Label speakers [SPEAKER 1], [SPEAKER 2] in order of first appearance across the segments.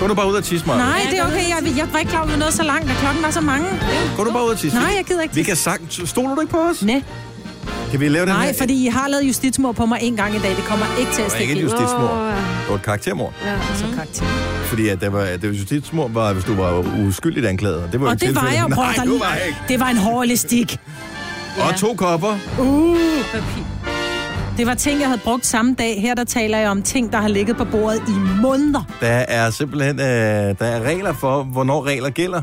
[SPEAKER 1] Gå nu bare ud og tisse, Maja.
[SPEAKER 2] Nej, det er okay. Jeg, jeg var ikke klar over noget så langt, da klokken var så mange.
[SPEAKER 1] Gå nu bare ud og tisse.
[SPEAKER 2] Nej, jeg gider ikke
[SPEAKER 1] Vi
[SPEAKER 2] tisse.
[SPEAKER 1] kan sagtens... Stoler du ikke på os?
[SPEAKER 2] Nej,
[SPEAKER 1] Kan vi lave den her?
[SPEAKER 2] nej, fordi I har lavet justitsmord på mig en gang i dag. Det kommer ikke til
[SPEAKER 1] Det
[SPEAKER 2] at
[SPEAKER 1] var
[SPEAKER 2] stikke
[SPEAKER 1] ikke et
[SPEAKER 2] ud.
[SPEAKER 1] justitsmord.
[SPEAKER 3] Åh, ja.
[SPEAKER 1] Det var et karaktermord.
[SPEAKER 3] Ja.
[SPEAKER 2] Så karakter.
[SPEAKER 1] Fordi at det var, at det var justitsmord, var, hvis du var uskyldigt anklaget. og Det var jo
[SPEAKER 2] Og det var
[SPEAKER 1] tilfældet.
[SPEAKER 2] jeg jo, bror.
[SPEAKER 1] Nej,
[SPEAKER 2] Der
[SPEAKER 1] du
[SPEAKER 2] lige-
[SPEAKER 1] var ikke.
[SPEAKER 2] Det var en hård elastik.
[SPEAKER 1] Og to kopper.
[SPEAKER 3] Papir.
[SPEAKER 2] Det var ting, jeg havde brugt samme dag. Her der taler jeg om ting, der har ligget på bordet i måneder.
[SPEAKER 1] Der er simpelthen øh, der er regler for, hvornår regler gælder.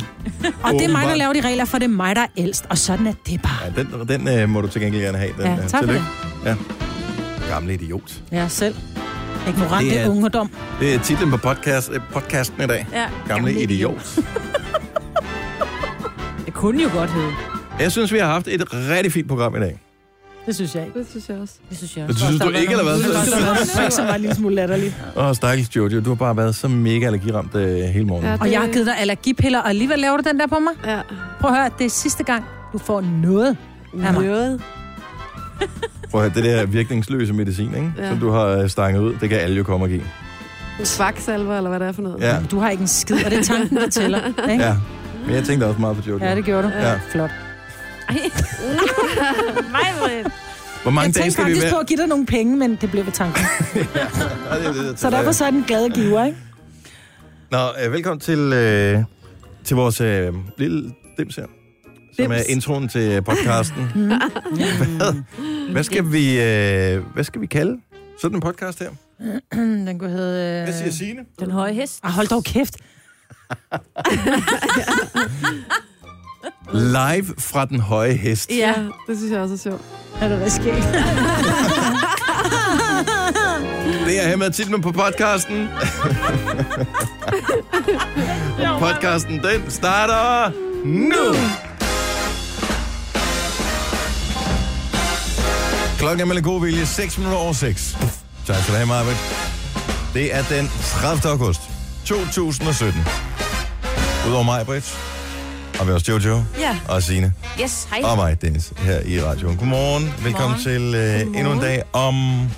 [SPEAKER 2] Og det er mig, der
[SPEAKER 1] Åbenbart.
[SPEAKER 2] laver de regler, for det er mig, der er ældst. Og sådan er det bare.
[SPEAKER 1] Ja, den, den øh, må du til gengæld gerne have. Den,
[SPEAKER 2] Ja,
[SPEAKER 1] øh,
[SPEAKER 2] tak for
[SPEAKER 1] Tillykke. Ja. Gamle idiot.
[SPEAKER 2] Ja, selv. Ignorant
[SPEAKER 1] Det
[SPEAKER 2] det
[SPEAKER 1] er-
[SPEAKER 2] er... ungdom.
[SPEAKER 1] Det er titlen på podcast, øh, podcasten i dag.
[SPEAKER 3] Ja.
[SPEAKER 1] Gamle,
[SPEAKER 3] Gamle
[SPEAKER 1] idiot.
[SPEAKER 2] Det kunne jo godt hedde.
[SPEAKER 1] Jeg synes, vi har haft et rigtig fint program i dag.
[SPEAKER 2] Det synes jeg ikke.
[SPEAKER 3] Det synes jeg også.
[SPEAKER 2] Det synes jeg
[SPEAKER 1] Det synes du ikke, eller hvad?
[SPEAKER 2] Det var en lille smule latterligt.
[SPEAKER 1] Åh, stakkels Jojo, du har bare været så mega allergiramt øh, hele morgenen.
[SPEAKER 3] Ja.
[SPEAKER 1] Ja.
[SPEAKER 2] Og jeg har givet dig allergipiller, og alligevel laver du den der på mig.
[SPEAKER 3] Ja.
[SPEAKER 2] Prøv at høre, det er sidste gang, du får noget af mig.
[SPEAKER 3] Noget.
[SPEAKER 1] Prøv at høre, det der virkningsløse medicin, ikke? Ja.
[SPEAKER 3] Ja.
[SPEAKER 1] som du har øh, stanget ud, det kan alle jo komme og give.
[SPEAKER 3] Svagsalver, eller hvad det er for noget.
[SPEAKER 1] Ja.
[SPEAKER 2] Du har ikke en skid, og det er tanken, der tæller. Ikke?
[SPEAKER 1] ja. Men jeg tænkte også meget på Jojo.
[SPEAKER 2] Ja, det gjorde du.
[SPEAKER 1] Ja.
[SPEAKER 2] Flot.
[SPEAKER 1] Hvor mange
[SPEAKER 2] Jeg
[SPEAKER 1] dage
[SPEAKER 2] tænkte
[SPEAKER 1] skal vi
[SPEAKER 2] faktisk på
[SPEAKER 1] være?
[SPEAKER 2] at give dig nogle penge, men det blev ved tanken.
[SPEAKER 1] Ja, det er det, der
[SPEAKER 2] Så
[SPEAKER 1] tager
[SPEAKER 2] derfor
[SPEAKER 1] jeg.
[SPEAKER 2] så er den glade giver, ikke?
[SPEAKER 1] Nå, øh, velkommen til, øh, til vores øh, lille dims her, som
[SPEAKER 3] Dims.
[SPEAKER 1] er introen til øh, podcasten. hvad, hvad, skal vi, øh, hvad skal vi kalde sådan en podcast her?
[SPEAKER 2] Den kunne hedde... øh,
[SPEAKER 1] Hvad siger Signe?
[SPEAKER 4] Den høje hest.
[SPEAKER 2] Ah, hold dog kæft.
[SPEAKER 1] Live fra den høje hest.
[SPEAKER 3] ja. Det synes jeg også er sjovt.
[SPEAKER 2] Er det rigtig
[SPEAKER 1] Det er hermed titlen på podcasten. Og podcasten, den starter nu! Klokken er med lidt god vilje, 6 minutter over 6. Tak skal du have, Marvind. Det er den 30. august 2017. Udover mig, Britt, har vi også Jojo
[SPEAKER 4] Ja.
[SPEAKER 1] og Signe
[SPEAKER 4] Yes, hej.
[SPEAKER 1] og mig, Dennis, her i radioen. Godmorgen. Velkommen til øh, endnu en dag. Om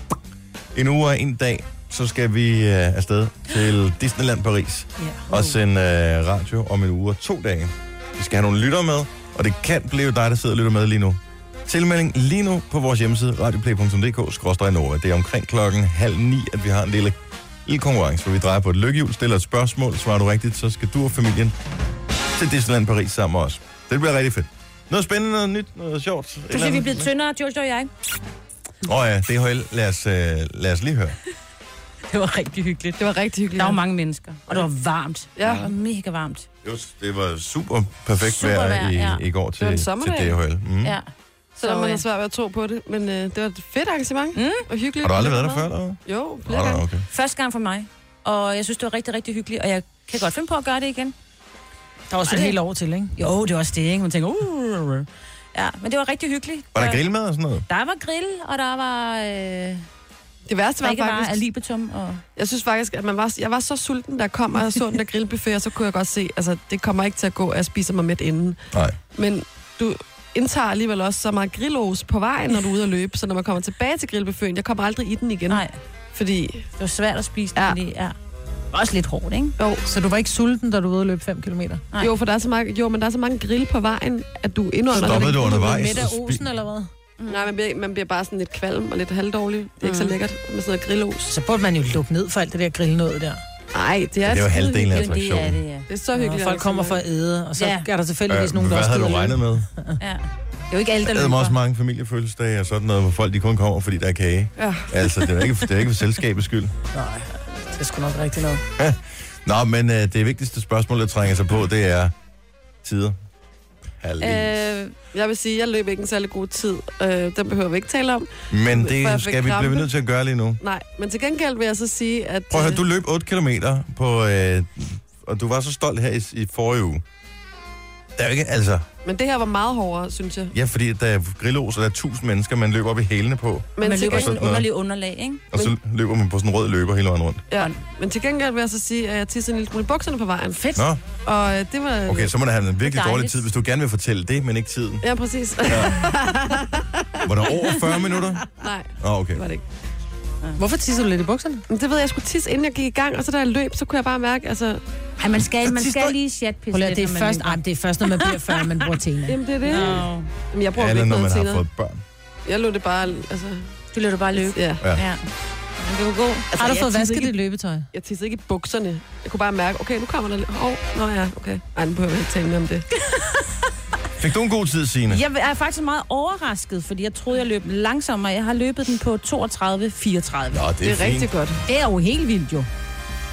[SPEAKER 1] en uge og en dag, så skal vi øh, afsted til Disneyland Paris og sende øh, radio om en uge og to dage. Vi skal have nogle lytter med, og det kan blive dig, der sidder og lytter med lige nu. Tilmelding lige nu på vores hjemmeside radioplay.dk-nova. Det er omkring klokken halv ni, at vi har en lille, lille konkurrence, hvor vi drejer på et lykkehjul, stiller et spørgsmål. Svarer du rigtigt, så skal du og familien til Disneyland Paris sammen med os. Det bliver rigtig fedt. Noget spændende, noget nyt, noget sjovt.
[SPEAKER 4] Du siger, vi er blevet tyndere, Jojo og jeg.
[SPEAKER 1] Åh oh ja, DHL. Lad os, øh, lad os lige høre.
[SPEAKER 4] Det var rigtig hyggeligt.
[SPEAKER 3] Det var rigtig hyggeligt.
[SPEAKER 4] Der var mange mennesker, og det var varmt.
[SPEAKER 3] Ja.
[SPEAKER 4] Det var mega varmt.
[SPEAKER 1] Just, det var super perfekt
[SPEAKER 4] Super
[SPEAKER 1] vejr
[SPEAKER 4] vejr,
[SPEAKER 1] i,
[SPEAKER 4] ja.
[SPEAKER 1] i går til,
[SPEAKER 3] var en
[SPEAKER 1] til
[SPEAKER 3] sommerdag.
[SPEAKER 1] DHL. Mm.
[SPEAKER 4] Ja.
[SPEAKER 3] Selvom
[SPEAKER 4] Så,
[SPEAKER 3] man
[SPEAKER 4] øh,
[SPEAKER 3] har svært ved at tro på det. Men øh, det var et fedt arrangement.
[SPEAKER 4] Mm.
[SPEAKER 3] Og hyggeligt.
[SPEAKER 1] Har du aldrig været der før, eller hvad?
[SPEAKER 3] Jo, flere
[SPEAKER 1] Nå, nå,
[SPEAKER 3] gange.
[SPEAKER 1] okay.
[SPEAKER 4] Første gang for mig, og jeg synes, det var rigtig, rigtig hyggeligt, og jeg kan godt finde på at gøre det igen.
[SPEAKER 2] Der var også et helt år til, ikke?
[SPEAKER 4] Jo, det var også det, ikke? Man tænker, uh, Ja, men det var rigtig hyggeligt.
[SPEAKER 1] Var der
[SPEAKER 4] Og
[SPEAKER 1] grillmad og sådan noget?
[SPEAKER 4] Der var grill, og der var øh,
[SPEAKER 3] Det værste var
[SPEAKER 4] drikkevarer af
[SPEAKER 3] faktisk...
[SPEAKER 4] libetum. Og...
[SPEAKER 3] Jeg synes faktisk, at man var, jeg var så sulten, der kom, og jeg så den der grillbuffet, og så kunne jeg godt se, altså det kommer ikke til at gå, at jeg spiser mig midt inden.
[SPEAKER 1] Nej.
[SPEAKER 3] Men du indtager alligevel også så meget grillos på vejen, når du er ude at løbe, så når man kommer tilbage til grillbuffeten, jeg kommer aldrig i den igen.
[SPEAKER 4] Nej,
[SPEAKER 3] Fordi,
[SPEAKER 4] det var svært at spise,
[SPEAKER 3] Ja.
[SPEAKER 4] ja. det er også lidt hårdt, ikke?
[SPEAKER 3] jo,
[SPEAKER 2] Så du var ikke sulten, da du var ude og løbe 5 km?
[SPEAKER 4] Nej.
[SPEAKER 3] jo, for der er så mange, jo, men der er så mange grill på vejen, at du indånder...
[SPEAKER 1] Stoppede du undervejs?
[SPEAKER 2] Midt
[SPEAKER 1] så
[SPEAKER 2] af
[SPEAKER 1] spi-
[SPEAKER 2] osen, eller hvad?
[SPEAKER 3] Mm. Nej, man bliver, man bliver bare sådan lidt kvalm og lidt halvdårlig. Det er ikke så
[SPEAKER 2] Mm.
[SPEAKER 3] lækkert med sådan noget grillos.
[SPEAKER 2] Så burde man jo lukke ned for alt det der grillnød der.
[SPEAKER 3] Nej, det er...
[SPEAKER 1] Det
[SPEAKER 3] skide
[SPEAKER 1] var halvdelen af
[SPEAKER 3] hyggeligt.
[SPEAKER 4] Jo, det er det, ja.
[SPEAKER 3] Det er så hyggeligt. altså.
[SPEAKER 2] Når folk kommer for at æde, og så
[SPEAKER 4] Ja.
[SPEAKER 2] er der tilfældigvis
[SPEAKER 1] Øh,
[SPEAKER 2] nogen, der
[SPEAKER 1] hvad
[SPEAKER 2] også
[SPEAKER 1] havde du
[SPEAKER 2] gider
[SPEAKER 1] regnet
[SPEAKER 2] løbe.
[SPEAKER 1] med?
[SPEAKER 4] ja. Det er jo ikke alle, der
[SPEAKER 1] Der havde man også
[SPEAKER 4] løber.
[SPEAKER 1] mange familiefødselsdage og sådan noget, hvor folk de kun kommer, fordi der er kage.
[SPEAKER 3] Ja.
[SPEAKER 1] Altså, det er ikke, det er ikke for selskabets skyld.
[SPEAKER 2] Nej, det er sgu nok rigtigt noget.
[SPEAKER 1] Nå, men øh, det vigtigste spørgsmål, der trænger sig på, det er tider. Øh,
[SPEAKER 3] Øh, jeg vil sige, jeg løb ikke en særlig god tid. Øh, den behøver vi ikke tale om.
[SPEAKER 1] men
[SPEAKER 3] for jeg
[SPEAKER 1] det
[SPEAKER 3] fik
[SPEAKER 1] skal vi, bliver vi
[SPEAKER 3] krampe.
[SPEAKER 1] nødt til at gøre lige nu.
[SPEAKER 3] Nej, men til gengæld vil jeg så sige, at...
[SPEAKER 1] Prøv at høre,
[SPEAKER 3] øh,
[SPEAKER 1] du løb 8 km på... Øh, og du var så stolt her i, i forrige uge. Der er jo ikke, altså...
[SPEAKER 3] Men det her var meget hårdere, synes jeg.
[SPEAKER 1] Ja, fordi der er grillos, og der er tusind mennesker, man løber op i hælene på.
[SPEAKER 3] Men,
[SPEAKER 4] Man
[SPEAKER 3] til,
[SPEAKER 4] løber i
[SPEAKER 1] Og
[SPEAKER 3] gengæld,
[SPEAKER 4] sådan
[SPEAKER 1] sådan
[SPEAKER 4] en underlig underlag, ikke?
[SPEAKER 1] Og så løber man på sådan en rød løber hele vejen rundt.
[SPEAKER 3] ja, men til gengæld vil jeg så sige, at jeg tissede en lille smule i bukserne på vejen.
[SPEAKER 4] Fedt.
[SPEAKER 1] Nå,
[SPEAKER 3] Og øh, det var...
[SPEAKER 1] okay, så må det have en virkelig
[SPEAKER 4] dejligt.
[SPEAKER 1] dårlig tid, hvis du gerne vil fortælle det, men ikke tiden.
[SPEAKER 3] Ja, præcis.
[SPEAKER 1] Var der over 40 minutter?
[SPEAKER 3] Nej,
[SPEAKER 1] Nå, okay.
[SPEAKER 3] det var det ikke.
[SPEAKER 5] Hvorfor tisser du lidt i bukserne?
[SPEAKER 3] Men Det ved jeg, jeg skulle tisse, inden jeg gik i gang, og så da jeg løb, så kunne jeg bare mærke, altså,
[SPEAKER 6] Ej, man skal, man
[SPEAKER 1] Tisser-
[SPEAKER 6] skal lige chatpisse
[SPEAKER 2] Prøv lige,
[SPEAKER 6] lidt,
[SPEAKER 2] det er
[SPEAKER 6] når man
[SPEAKER 2] først,
[SPEAKER 6] løber.
[SPEAKER 2] ej, men det er først, når man bliver 40, man bruger tænder.
[SPEAKER 3] jamen det er det. No.
[SPEAKER 4] Nå.
[SPEAKER 3] Jamen, jeg bruger
[SPEAKER 1] Eller
[SPEAKER 3] ikke
[SPEAKER 1] når
[SPEAKER 3] noget
[SPEAKER 1] man har
[SPEAKER 3] senere.
[SPEAKER 1] fået børn.
[SPEAKER 3] Jeg lå det bare, altså,
[SPEAKER 4] Du løber bare løbe.
[SPEAKER 3] ja.
[SPEAKER 1] Ja.
[SPEAKER 6] Ja. Men det var god.
[SPEAKER 4] Altså,
[SPEAKER 2] Har du
[SPEAKER 3] jeg
[SPEAKER 2] fået
[SPEAKER 3] tissede
[SPEAKER 2] vasket
[SPEAKER 3] ikke-
[SPEAKER 2] dit løbetøj?
[SPEAKER 3] Jeg tissede ikke i bukserne. Jeg kunne bare mærke, okay, nu kommer der lidt. Åh, oh, nå ja, okay. Ej, nu behøver jeg ikke tænke mere om det.
[SPEAKER 1] Fik du en god tid, Signe?
[SPEAKER 4] Jeg er faktisk meget overrasket, fordi jeg troede, jeg løb langsommere. Jeg har løbet den på 32-34.
[SPEAKER 1] Nå, det er,
[SPEAKER 3] Det er
[SPEAKER 1] fint.
[SPEAKER 3] rigtig godt.
[SPEAKER 2] Det er jo helt vildt, jo.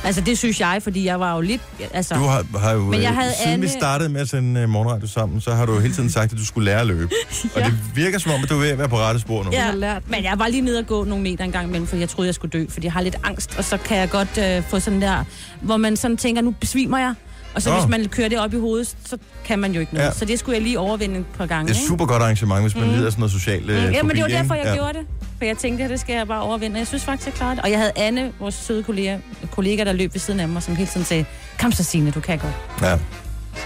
[SPEAKER 4] Altså, det synes jeg, fordi jeg var jo lidt... Altså,
[SPEAKER 1] Du har, har jo,
[SPEAKER 4] Men jeg
[SPEAKER 1] øh,
[SPEAKER 4] havde
[SPEAKER 1] siden vi
[SPEAKER 4] alle-
[SPEAKER 1] startede med at sende uh, morgenradio sammen, så har du jo hele tiden sagt, at du skulle lære at løbe. ja. Og det virker som om, at du er ved at være på rette spor nu.
[SPEAKER 4] Ja.
[SPEAKER 3] Jeg har lært.
[SPEAKER 4] Men jeg var lige nede og gå nogle meter en gang imellem, for jeg troede, jeg skulle dø, fordi jeg har lidt angst, og så kan jeg godt øh, få sådan der, hvor man sådan tænker, nu besvimer jeg. Og så
[SPEAKER 1] Nå.
[SPEAKER 4] oh. hvis man kører det op i hovedet, så kan man jo ikke noget.
[SPEAKER 1] Ja.
[SPEAKER 4] Ja. Så det skulle jeg lige overvinde et par gange.
[SPEAKER 1] Det er et
[SPEAKER 4] ikke?
[SPEAKER 1] super godt arrangement, hvis man lider af sådan noget socialt mm.
[SPEAKER 4] Ja, men det var derfor, jeg ja. gjorde det. For jeg tænkte, at det skal jeg bare overvinde. Og jeg synes faktisk, jeg klarede det. Og jeg havde Anne, vores søde kollega, kollega der løb ved siden af mig, som hele tiden sagde, kom så Signe, du kan godt.
[SPEAKER 1] Ja.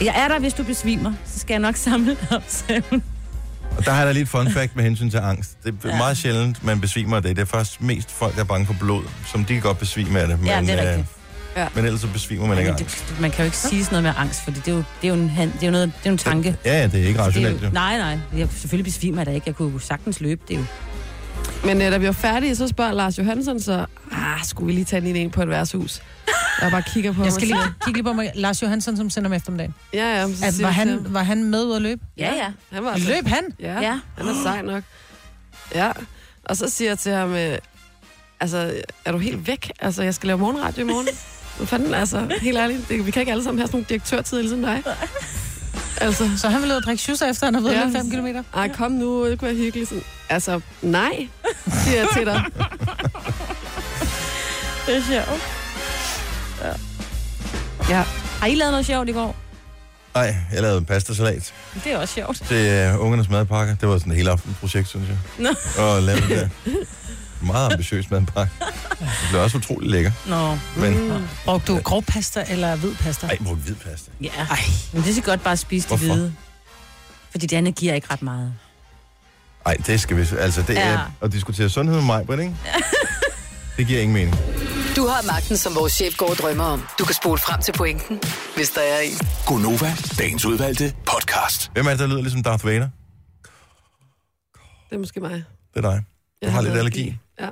[SPEAKER 4] Jeg er der, hvis du besvimer, så skal jeg nok samle dig op, sagde hun.
[SPEAKER 1] Og der har jeg da lige et fun fact med hensyn til angst. Det er ja. meget sjældent, man besvimer af det. Det er først mest folk, der er bange for blod, som de kan godt besvime af det. Men,
[SPEAKER 4] Ja, det er
[SPEAKER 1] øh,
[SPEAKER 4] rigtigt.
[SPEAKER 3] Ja.
[SPEAKER 1] Men ellers så besvimer man ikke
[SPEAKER 4] Men
[SPEAKER 1] angst.
[SPEAKER 4] det, man kan jo ikke sige sådan noget med angst, for det er jo, det er jo, en, han- det er jo, noget, det er jo en tanke.
[SPEAKER 1] Ja, ja, det er ikke rationelt.
[SPEAKER 4] Det er
[SPEAKER 1] jo.
[SPEAKER 4] jo, nej, nej. Jeg selvfølgelig besvimer jeg da ikke. Jeg kunne jo sagtens løbe det er jo.
[SPEAKER 3] Men øh, da vi var færdige, så spørger Lars Johansson så, ah, skulle vi lige tage den ind på et værtshus? Jeg bare kigger på
[SPEAKER 2] Jeg
[SPEAKER 3] ham
[SPEAKER 2] skal
[SPEAKER 3] og
[SPEAKER 2] lige
[SPEAKER 3] siger,
[SPEAKER 2] kigge lige på mig. Lars Johansson, som sender om eftermiddagen.
[SPEAKER 3] Ja, ja, men så
[SPEAKER 2] At,
[SPEAKER 3] siger
[SPEAKER 2] var,
[SPEAKER 3] vi til
[SPEAKER 2] han,
[SPEAKER 3] ham,
[SPEAKER 2] var han med ud at løbe?
[SPEAKER 4] Ja, ja.
[SPEAKER 3] han var altså,
[SPEAKER 2] Løb han?
[SPEAKER 3] Ja,
[SPEAKER 4] Ja.
[SPEAKER 3] han er sej nok. Ja, og så siger jeg til ham, øh, altså, er du helt væk? Altså, jeg skal lave morgenradio i morgen. Hvad fanden, altså, helt ærligt, det, vi kan ikke alle sammen have sådan nogle direktørtider ligesom dig. Altså,
[SPEAKER 2] Så han ville ud og drikke shoes efter, han havde været
[SPEAKER 3] Ja.
[SPEAKER 2] ja. 5 km.
[SPEAKER 3] Ej, kom nu, det kunne være hyggeligt. Sådan, altså, nej, siger jeg til dig.
[SPEAKER 4] Det er sjovt.
[SPEAKER 3] Ja.
[SPEAKER 4] Har I lavet noget sjovt i går?
[SPEAKER 1] Nej, jeg lavede en pastasalat
[SPEAKER 4] Det er også sjovt.
[SPEAKER 1] til uh, ungernes madpakke. Det var sådan et hele aften projekt, synes jeg.
[SPEAKER 4] Nå.
[SPEAKER 1] Og lave det der. Meget ambitiøs madpakke. Det blev også utrolig lækker.
[SPEAKER 4] Nå.
[SPEAKER 1] Men
[SPEAKER 4] Mm.
[SPEAKER 2] Brugte du grovpasta eller hvidpasta?
[SPEAKER 1] ej, jeg brugte hvid pasta.
[SPEAKER 4] Ja. Ej. Men det er så godt bare at spise det
[SPEAKER 1] Hvorfor?
[SPEAKER 4] hvide. Fordi det andet giver ikke ret meget.
[SPEAKER 1] Ej, det skal vi... Altså, det er
[SPEAKER 4] Ja.
[SPEAKER 1] at diskutere sundhed med mig, Britt, ikke? Det giver ingen mening.
[SPEAKER 7] Du har magten, som vores chef går og drømmer om. Du kan spole frem til pointen, hvis der er en.
[SPEAKER 8] Gonova, dagens udvalgte podcast.
[SPEAKER 1] Hvem er det, der lyder ligesom Darth Vader?
[SPEAKER 3] Det er måske mig.
[SPEAKER 1] Det er dig. Du
[SPEAKER 3] Jeg
[SPEAKER 1] har
[SPEAKER 3] har
[SPEAKER 1] lidt
[SPEAKER 3] allergi.
[SPEAKER 1] allergi.
[SPEAKER 3] Ja.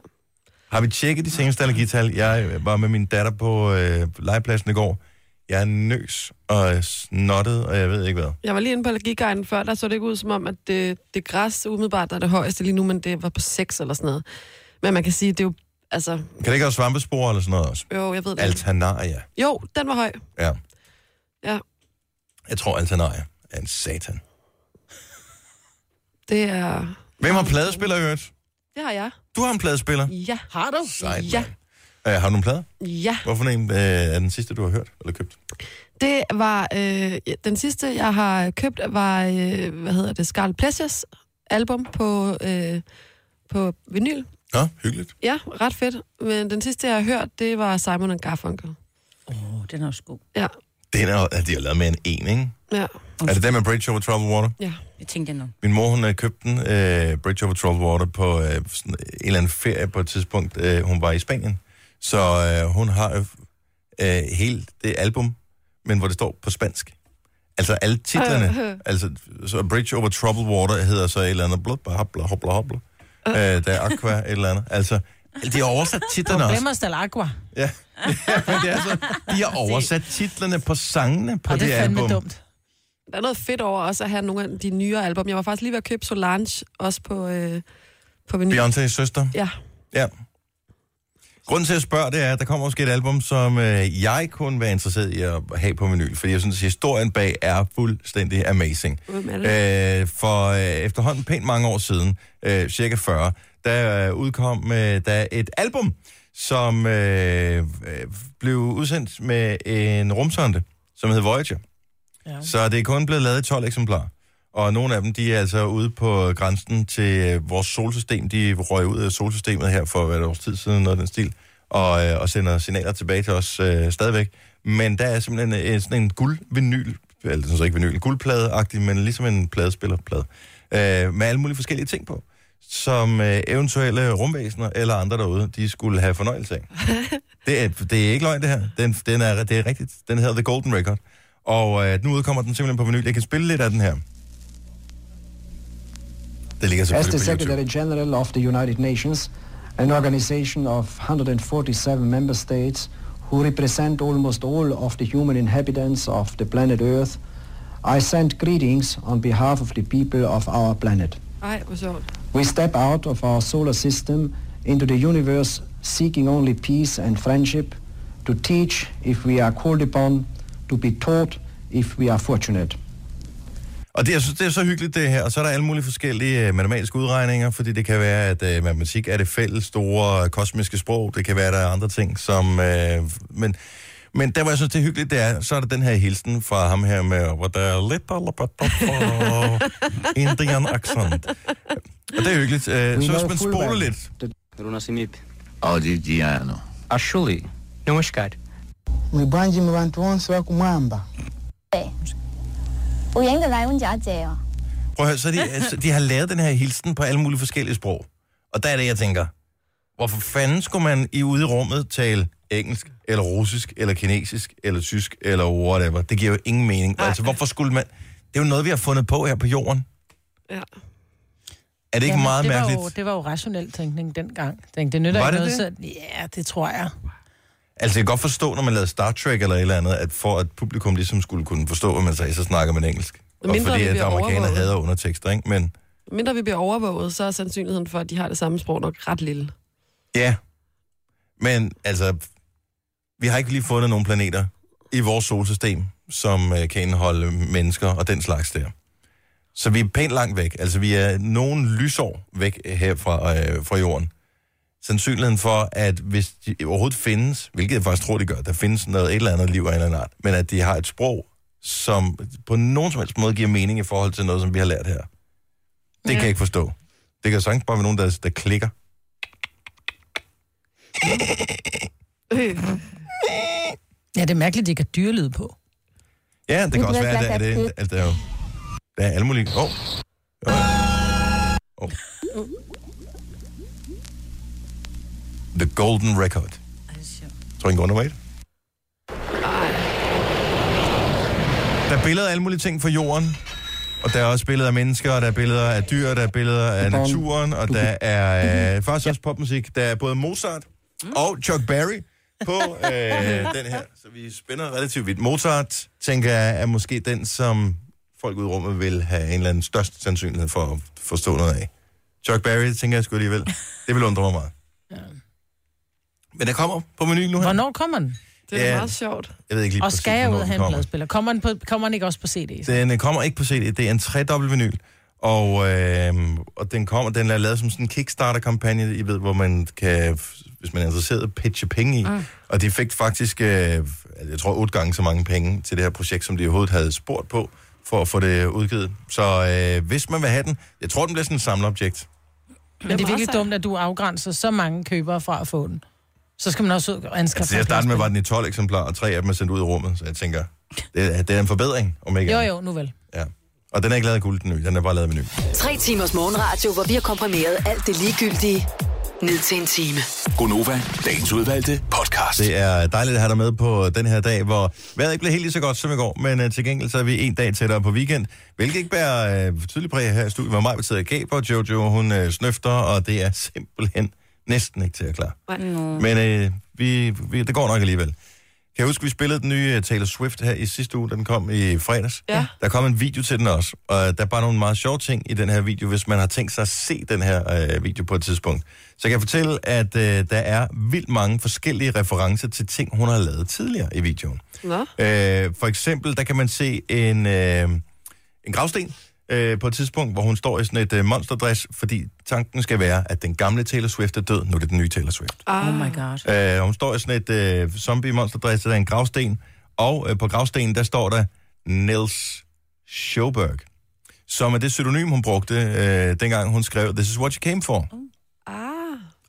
[SPEAKER 1] Har vi tjekket de seneste allergital? Jeg øh, var med min datter på øh, legepladsen i går. Jeg er nøs og snottet, og jeg ved ikke hvad.
[SPEAKER 3] Jeg var lige inde på allergiguiden før, der så det ikke ud som om, at det, det græs umiddelbart der er det højeste lige nu, men det var på 6 eller sådan noget. Men man kan sige, det er jo, altså,
[SPEAKER 1] Kan det ikke også svampespor eller sådan noget også?
[SPEAKER 3] jo, jeg ved det. ikke.
[SPEAKER 1] Altanaria.
[SPEAKER 3] Jo, den var høj.
[SPEAKER 1] Ja.
[SPEAKER 3] Ja.
[SPEAKER 1] Jeg tror, Altanaria er en satan.
[SPEAKER 3] Det er,
[SPEAKER 1] Hvem har pladespiller i øvrigt?
[SPEAKER 3] det har jeg.
[SPEAKER 1] Du har en pladespiller.
[SPEAKER 3] Ja,
[SPEAKER 2] Har du?
[SPEAKER 1] Sejt,
[SPEAKER 3] Ja.
[SPEAKER 1] mand. Øh, har du en plade?
[SPEAKER 3] ja.
[SPEAKER 1] Hvorfor en øh, er den sidste, du har hørt eller købt?
[SPEAKER 3] Det var, øh, ja, den sidste, jeg har købt, var, øh, hvad hedder det, Scarlet Pleasures album på, øh, på vinyl.
[SPEAKER 1] Nå, hyggeligt.
[SPEAKER 3] Ja, ret fedt. Men den sidste, jeg har hørt, det var Simon and Garfunkel.
[SPEAKER 4] Åh, oh, den er også god.
[SPEAKER 3] Ja,
[SPEAKER 1] Den er, at de har lavet med en en, ikke?
[SPEAKER 3] ja,
[SPEAKER 1] Er det den med Bridge Over Troubled Water?
[SPEAKER 3] ja.
[SPEAKER 4] Det tænkte jeg nu.
[SPEAKER 1] Min mor, hun øh, købte den, øh, Bridge Over Troubled Water, på øh, sådan en eller anden ferie på et tidspunkt. Øh, hun var i Spanien. Så øh, hun har øh, øh, hele det album, men hvor det står på spansk. Altså alle
[SPEAKER 2] Øh,
[SPEAKER 1] titlerne. altså, så Bridge Over Troubled Water hedder så et eller andet. Blub, hopla, hopla, hopla. Øh, der er Aqua, et eller andet. Altså, de har oversat titlerne også.
[SPEAKER 2] Problemer eller aqua? Og
[SPEAKER 1] Ja. ja men det er så, de har oversat titlerne på sangene på det,
[SPEAKER 2] det er fandme
[SPEAKER 1] album.
[SPEAKER 2] dumt.
[SPEAKER 3] Der er noget fedt over også at have nogle af de nyere album. Jeg var faktisk lige ved at købe Solange, også på, øh, på vinyl.
[SPEAKER 1] Beyoncé's søster.
[SPEAKER 3] Ja,
[SPEAKER 1] Ja. Grunden til at spørge, det er, at der kommer måske et album, som øh, jeg kunne være interesseret i at have på vinyl, fordi jeg synes, at historien bag er fuldstændig amazing.
[SPEAKER 3] ud med alle.
[SPEAKER 1] Øh, for øh, efterhånden pænt mange år siden, øh, cirka 40, der øh, udkom øh, der et album, som øh, øh, blev udsendt med en rumsonde, som hed Voyager. Ja. Så det er kun blevet lavet i 12 eksemplarer. Og nogle af dem, de er altså ude på grænsen til øh, vores solsystem. De røg ud af solsystemet her for hvad, et års tid siden, noget af den stil, og, øh, og sender signaler tilbage til os øh, stadigvæk. Men der er simpelthen øh, sådan en guldvinyl, eller sådan så ikke vinyl, guldplade-agtig, men ligesom en pladespillerplade, øh, med alle mulige forskellige ting på. som øh, eventuelle rumvæsener eller andre derude, de skulle have fornøjelse af. det, er, det er ikke løgn, det her. Den, den er, det er rigtigt. Den hedder The Golden Record. Og øh, nu udkommer den simpelthen på vinyl. Jeg kan spille lidt af den her. Det ligger
[SPEAKER 9] As
[SPEAKER 1] selvfølgelig
[SPEAKER 9] the
[SPEAKER 1] på YouTube.
[SPEAKER 9] Secretary General of the United Nations, an organization of 147 member states who represent almost all of the human inhabitants of the planet Earth, I send greetings on behalf of the people of our planet.
[SPEAKER 3] Ej, hvor sjovt.
[SPEAKER 9] We step out of our solar system into the universe seeking only peace and friendship, to teach if we are called upon, to be taught if we are fortunate.
[SPEAKER 1] Og det, jeg synes, det er så hyggeligt det her. Og så er der alle mulige forskellige øh, matematiske udregninger, fordi det kan være, at øh, matematik er det fælles store øh, kosmiske sprog. Det kan være, at der er andre ting, som... Øh, men, men der, hvor jeg synes, det er hyggeligt, det er, så er der den her hilsen fra ham her med, hvor der er lidt Indian accent. Og det er hyggeligt. Øh, så hvis man spoler lidt,
[SPEAKER 10] Bruno Simip. Audi Diano. Ashuli. Namaskar.
[SPEAKER 11] mwibwanji mu bantu bonse bakumwamba
[SPEAKER 12] uyengezayo unjajeyo
[SPEAKER 1] Prøv at høre, så de, altså, de har lavet den her hilsen på alle mulige forskellige sprog. Og der er det, jeg tænker, hvorfor fanden skulle man i ude i rummet tale engelsk, eller russisk, eller kinesisk, eller tysk, eller whatever? Det giver jo ingen mening. Altså, hvorfor skulle man... Det er jo noget, vi har fundet på her på jorden.
[SPEAKER 3] Ja.
[SPEAKER 1] Er det ikke meget
[SPEAKER 2] det
[SPEAKER 1] mærkeligt?
[SPEAKER 2] Var jo, det var jo rationel tænkning dengang. Jeg Tænkte, det nytter
[SPEAKER 1] Var
[SPEAKER 2] ikke
[SPEAKER 1] det
[SPEAKER 2] noget, så... Ja, det tror jeg.
[SPEAKER 1] Altså, jeg kan godt forstå, når man lavede Star Trek eller et eller andet, at for at publikum ligesom skulle kunne forstå, hvad man sagde, så snakker man engelsk.
[SPEAKER 3] Men
[SPEAKER 1] Og
[SPEAKER 3] mindre
[SPEAKER 1] fordi
[SPEAKER 3] det
[SPEAKER 1] at
[SPEAKER 3] bliver
[SPEAKER 1] amerikanere
[SPEAKER 3] overvåget.
[SPEAKER 1] hader undertekster, ikke? Men
[SPEAKER 3] Mindre vi bliver overvåget, så er sandsynligheden for, at de har det samme sprog nok ret lille.
[SPEAKER 1] Ja, men altså, vi har ikke lige fundet nogen planeter i vores solsystem, som øh, kan indeholde mennesker og den slags der. Så vi er pænt langt væk. Altså, vi er nogle lysår væk her fra, øh, fra jorden. Sandsynligheden for, at hvis de overhovedet findes, hvilket jeg faktisk tror, de gør, der findes noget et eller andet liv af en eller anden art, men at de har et sprog, som på nogen som helst måde giver mening i forhold til noget, som vi har lært her. Det kan jeg ikke forstå. Det kan sagtens bare være nogen, der, der klikker.
[SPEAKER 2] Ja, det er mærkeligt, at de ikke har dyrelyd på.
[SPEAKER 1] Ja, det
[SPEAKER 2] Men
[SPEAKER 1] kan
[SPEAKER 2] du
[SPEAKER 1] også
[SPEAKER 2] har
[SPEAKER 1] være,
[SPEAKER 2] ikke
[SPEAKER 1] at
[SPEAKER 2] lagt
[SPEAKER 1] det, er
[SPEAKER 2] dig
[SPEAKER 1] det, at der er jo... Der er alle mulige... Åh! Oh. Oh. The Golden Record. Tror I, den går undervejt? Der er billeder af alle mulige ting fra jorden. Og der er også billeder af mennesker, og der er billeder af dyr, der er billeder af naturen, og der er øh, faktisk også popmusik. Der er både Mozart og Chuck Berry på øh, den her. Så vi spænder relativt vidt. Mozart, tænker jeg, er måske den, som folk ud i rummet vil have en eller anden størst sandsynlighed for at forstå noget af. Chuck Berry, tænker jeg sgu alligevel. Det vil undre mig meget. Men der kommer på menuen nu her.
[SPEAKER 2] Hvornår kommer den?
[SPEAKER 1] Det er da Ja. meget
[SPEAKER 3] sjovt.
[SPEAKER 1] Jeg ved ikke lige
[SPEAKER 2] og
[SPEAKER 1] præcis,
[SPEAKER 2] skal jeg ud
[SPEAKER 1] hvornår den
[SPEAKER 2] og have en
[SPEAKER 1] kommer.
[SPEAKER 2] pladespiller? Kommer den, på, kommer den ikke også på CD? så?
[SPEAKER 1] Den øh, kommer ikke på CD. Det er en tredobbelt vinyl. Og, øh, og den kommer, den er lavet som sådan en Kickstarter-kampagne, I ved, hvor man kan, hvis man er interesseret, pitche penge i.
[SPEAKER 2] Ah.
[SPEAKER 1] Mm. Og de fik faktisk, øh, altså, jeg tror, otte gange så mange penge til det her projekt, som de overhovedet havde spurgt på, for at få det udgivet. Så øh, hvis man vil have den, jeg tror, den bliver sådan en samleobjekt. Altså,
[SPEAKER 2] Men det er virkelig dumt, at du afgrænser så mange købere fra at få den. Så skal man også ud og anskaffe
[SPEAKER 1] Altså, jeg startede med, var den i 12 eksemplarer, og tre af dem er sendt ud i rummet, så jeg tænker, det, er- det er en forbedring, om ikke
[SPEAKER 2] Jo,
[SPEAKER 1] andet.
[SPEAKER 2] jo, nu vel.
[SPEAKER 1] Og den er ikke lavet af guld, den nye. Den er bare lavet af menu.
[SPEAKER 7] Tre timers morgenradio, hvor vi har komprimeret alt det ligegyldige ned til en time.
[SPEAKER 8] Gonova, dagens udvalgte podcast.
[SPEAKER 1] Det er dejligt at have dig med på den her dag, hvor vejret ikke blev helt lige så godt som i går, men uh, til gengæld så er vi en dag tættere på weekend, hvilket ikke bærer uh, tydelig præg her i studiet, hvor mig betyder gaber, Jojo hun uh, snøfter, og det er simpelthen næsten ikke til at klare.
[SPEAKER 4] No.
[SPEAKER 1] Men uh, vi, vi, det går nok alligevel. Kan jeg huske, vi spillede den nye øh, Taylor Swift her i sidste uge, da den kom i fredags.
[SPEAKER 3] Ja.
[SPEAKER 1] Der kom en video til den også, og der er bare nogle meget sjove ting i den her video, hvis man har tænkt sig at se den her øh, video på et tidspunkt. Så jeg kan fortælle, at øh, der er vildt mange forskellige referencer til ting, hun har lavet tidligere i videoen.
[SPEAKER 3] Nå.
[SPEAKER 1] Øh, for eksempel, der kan man se en, øh, en gravsten øh, på et tidspunkt, hvor hun står i sådan et øh, monsterdress, fordi tanken skal være, at den gamle Taylor Swift er død, nu er det den nye Taylor Swift.
[SPEAKER 4] Oh my god.
[SPEAKER 1] Øh, hun står i sådan et øh, zombie-monsterdress, der er en gravsten, og øh, på gravstenen, der står der Nils Schoberg,
[SPEAKER 2] Mm.
[SPEAKER 1] som er det pseudonym, hun brugte, øh, dengang hun skrev This is what you came for.
[SPEAKER 3] Ah,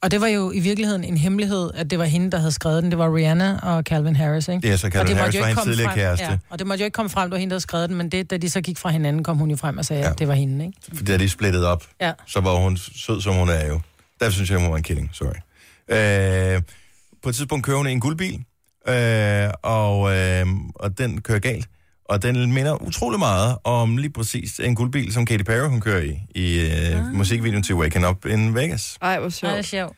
[SPEAKER 2] Og det var jo i virkeligheden en hemmelighed, at det var hende, der havde skrevet den. Det var Rihanna og Calvin Harris, ikke?
[SPEAKER 1] Det er så
[SPEAKER 2] Og
[SPEAKER 1] Calvin
[SPEAKER 2] måtte
[SPEAKER 1] Harris
[SPEAKER 2] jo
[SPEAKER 1] var
[SPEAKER 2] ikke
[SPEAKER 1] hendes
[SPEAKER 2] komme
[SPEAKER 1] tidligere
[SPEAKER 2] frem-
[SPEAKER 1] kæreste.
[SPEAKER 2] Ja, og det måtte jo ikke komme frem, det var hende, der havde skrevet den, men det, da de så gik fra hinanden, kom hun jo frem og sagde, ja. at det var hende, ikke?
[SPEAKER 1] da de splittede op,
[SPEAKER 2] Ja.
[SPEAKER 1] så var hun sød, som hun er jo. Der synes jeg, hun var en killing, sorry. Øh, på et tidspunkt kører hun i en guldbil, øh, og, øh, og den kører galt. Og den minder utrolig meget om lige præcis en guldbil, som Katy Perry hun kører i, i øh,
[SPEAKER 2] Ah.
[SPEAKER 1] musikvideoen til Waken Up in Vegas.
[SPEAKER 3] Ej, hvor sjovt.
[SPEAKER 4] Ej, det er sjovt.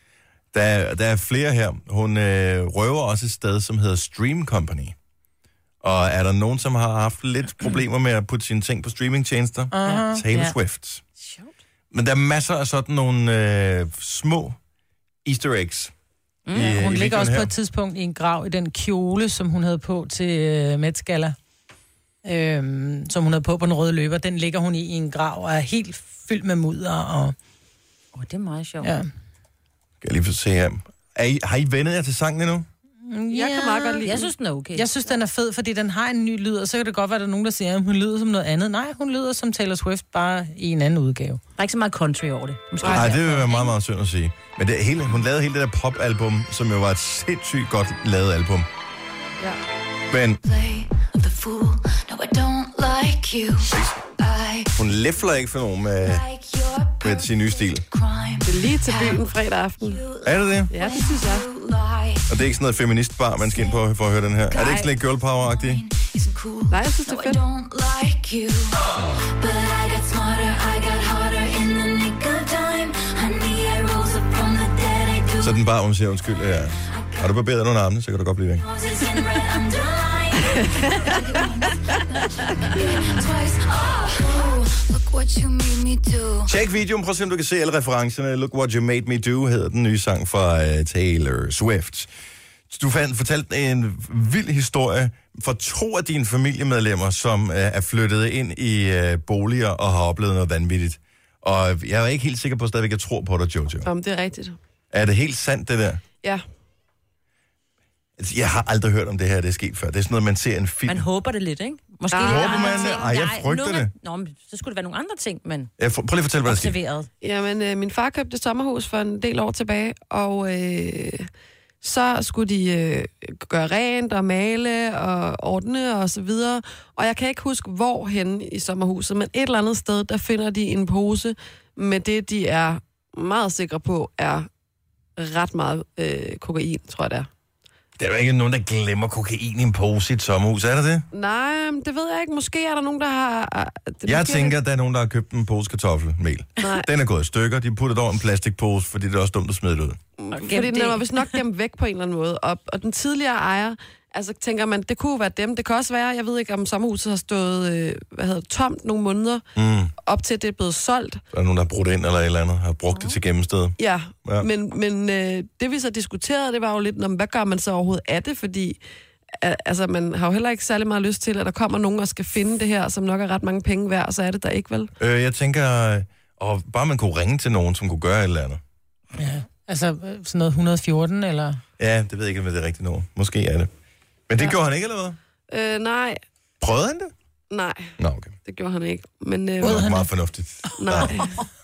[SPEAKER 1] Der, er- der er flere her. Hun øh, røver også et sted, som hedder Stream Company. Og er der nogen, som har haft lidt problemer med at putte sine ting på streamingtjenester?
[SPEAKER 2] Aha.
[SPEAKER 1] Taylor
[SPEAKER 2] Ja.
[SPEAKER 1] Swift. Men der er masser af sådan nogle øh, små easter eggs.
[SPEAKER 2] Mm. Ja, hun ligger
[SPEAKER 1] videoen
[SPEAKER 2] også her. på
[SPEAKER 1] her.
[SPEAKER 2] et tidspunkt i en grav i den kjole, som hun havde på til øh, Met Gala. Øhm, som hun havde på på den røde løber. Den ligger hun i, i en grav og er helt fyldt med mudder. Og...
[SPEAKER 4] Åh, oh, det er meget sjovt.
[SPEAKER 2] Ja.
[SPEAKER 1] Kan jeg lige få se her. Er I, har I vendet jer til sangen endnu?
[SPEAKER 2] Jeg
[SPEAKER 4] kan meget godt lide Jeg synes, den er okay.
[SPEAKER 2] Jeg synes, den er fed, fordi den har en ny lyd, og så kan det godt være, at der er nogen, der siger, at hun lyder som noget andet. Nej, hun lyder som Taylor Swift, bare i en anden udgave.
[SPEAKER 4] Der er ikke så meget country over det. Måske
[SPEAKER 1] Nej, det vil være meget, meget synd at sige. Men det, hele, hun lavede hele det der popalbum, som jo var et sindssygt godt lavet album.
[SPEAKER 3] Ja.
[SPEAKER 1] Men
[SPEAKER 12] Play the fool. No, I don't like you. I
[SPEAKER 1] hun læfler ikke for nogen med, med sin nye stil.
[SPEAKER 12] crime.
[SPEAKER 3] Det er lige til byen fredag aften.
[SPEAKER 1] Er det det?
[SPEAKER 3] Ja, det synes jeg.
[SPEAKER 1] Og det er ikke sådan noget feministbar, man skal ind på for at høre den her. Er det ikke sådan lidt girl power-agtigt?
[SPEAKER 3] Nej, jeg synes, det
[SPEAKER 12] No,
[SPEAKER 3] er
[SPEAKER 12] I
[SPEAKER 3] fedt.
[SPEAKER 12] don't like you. But I got smarter, I got harder in the nick of time. Honey, I rose up from the dead. I do.
[SPEAKER 1] Så den bare, hun siger, undskyld, ja. har du barberet nogle armene, så kan du godt blive væk.
[SPEAKER 12] Roses in red underline. Twice. Oh, look what you made me do.
[SPEAKER 1] Tjek videoen, prøv at se, om du kan se alle referencerne. Look What You Made Me Do hedder den nye sang fra uh, Taylor Swift. Du fandt, fortalte en vild historie for to af dine familiemedlemmer, som uh, er flyttet ind i uh, boliger og har oplevet noget vanvittigt. Og jeg er ikke helt sikker på, at jeg stadigvæk tror på dig, Jojo.
[SPEAKER 3] Om det er rigtigt.
[SPEAKER 1] Er det helt sandt, det der?
[SPEAKER 3] Ja.
[SPEAKER 1] Altså, Jeg har aldrig hørt om det her, det er sket før. Det er sådan noget, man ser i en film.
[SPEAKER 4] Man håber det lidt, ikke? Måske
[SPEAKER 1] Nej.
[SPEAKER 4] lidt
[SPEAKER 1] Håber
[SPEAKER 4] andre
[SPEAKER 1] man det?
[SPEAKER 4] ting.
[SPEAKER 1] Ej, jeg
[SPEAKER 4] Nej,
[SPEAKER 1] frygter
[SPEAKER 4] nogle-
[SPEAKER 1] det.
[SPEAKER 4] Nå, men så skulle det være nogle andre ting, men
[SPEAKER 1] Jeg får, prøv lige at fortælle, hvad der sker.
[SPEAKER 4] observeret.
[SPEAKER 3] Jamen, øh, min far købte et sommerhus for en del år tilbage, og øh, så skulle de øh, gøre rent og male og ordne og så videre. Og jeg kan ikke huske, hvor hen i sommerhuset, men et eller andet sted, der finder de en pose med det, de er meget sikre på, er ret meget øh, kokain, tror jeg det er.
[SPEAKER 1] Der er jo ikke nogen, der glemmer kokain i en pose i et sommerhus, er der det?
[SPEAKER 3] Nej, men det ved jeg ikke. Måske er der nogen, der har... øh, Det
[SPEAKER 1] Jeg
[SPEAKER 3] måske-
[SPEAKER 1] tænker, at der er nogen, der har købt en pose kartoffelmel.
[SPEAKER 3] Nej.
[SPEAKER 1] Den er gået i stykker. De putter det over en plastikpose, fordi det er også dumt at smide det ud.
[SPEAKER 3] Fordi den var vist nok gemt væk på en eller anden måde. Og, og den tidligere ejer, altså tænker man, det kunne jo være dem. Det kan også være, jeg ved ikke, om sommerhuset har stået øh, hvad hedder, det, tomt nogle måneder,
[SPEAKER 1] Mm.
[SPEAKER 3] op til det er blevet solgt.
[SPEAKER 1] Der er nogen, der har brudt ind eller et eller andet, har brugt det til gemmested.
[SPEAKER 3] Ja,
[SPEAKER 1] Ja.
[SPEAKER 3] ja. men, men øh, det vi så diskuterede, det var jo lidt, "Nå, men hvad gør man så overhovedet af det? Fordi øh, altså, man har jo heller ikke særlig meget lyst til, at der kommer nogen og skal finde det her, som nok er ret mange penge værd, og så er det der ikke, vel?
[SPEAKER 1] Øh, jeg tænker, øh, og bare man kunne ringe til nogen, som kunne gøre et eller andet.
[SPEAKER 2] Ja. Altså øh, sådan noget 114, eller...
[SPEAKER 1] Ja, det ved jeg ikke, om det er rigtigt noget. Måske er det. Men det ja. gjorde han ikke, eller hvad?
[SPEAKER 3] Øh, nej,
[SPEAKER 1] Prøvede han det?
[SPEAKER 3] nej,
[SPEAKER 1] Nå, okay.
[SPEAKER 3] det gjorde han ikke. Men, øh,
[SPEAKER 1] Det var meget fornuftigt.
[SPEAKER 3] Nej.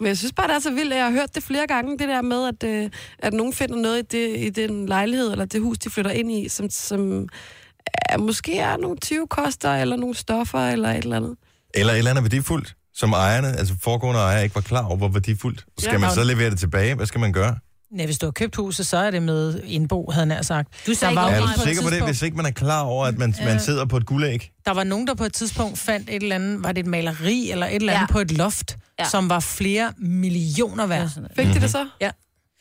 [SPEAKER 3] Men jeg synes bare, det er så vildt, at jeg har hørt det flere gange, det der med, at, øh, at nogen finder noget i, det, i den lejlighed, eller det hus, de flytter ind i, som, som er, måske er nogle 20 koster, eller nogle stoffer, eller et eller andet.
[SPEAKER 1] Eller et eller andet værdifuldt, som ejerne, altså foregående ejer, ikke var klar over, hvor værdifuldt. Skal
[SPEAKER 2] Ja.
[SPEAKER 1] man så levere det tilbage? Hvad skal man gøre?
[SPEAKER 2] Nej, hvis du har købt huset, så er det med indbo, havde jeg nær sagt.
[SPEAKER 4] Du sagde
[SPEAKER 2] der var,
[SPEAKER 1] er
[SPEAKER 2] jo
[SPEAKER 1] du
[SPEAKER 2] nogen et
[SPEAKER 1] sikker på det,
[SPEAKER 2] tidspunkt-
[SPEAKER 1] hvis ikke man er klar over, at man,
[SPEAKER 2] Ja.
[SPEAKER 1] man sidder på et guldæg?
[SPEAKER 2] Der var nogen, der på et tidspunkt fandt et eller andet, var det et maleri eller et eller andet ja. på et loft, ja. som var flere millioner værd.
[SPEAKER 3] Fik de det så?
[SPEAKER 4] Ja.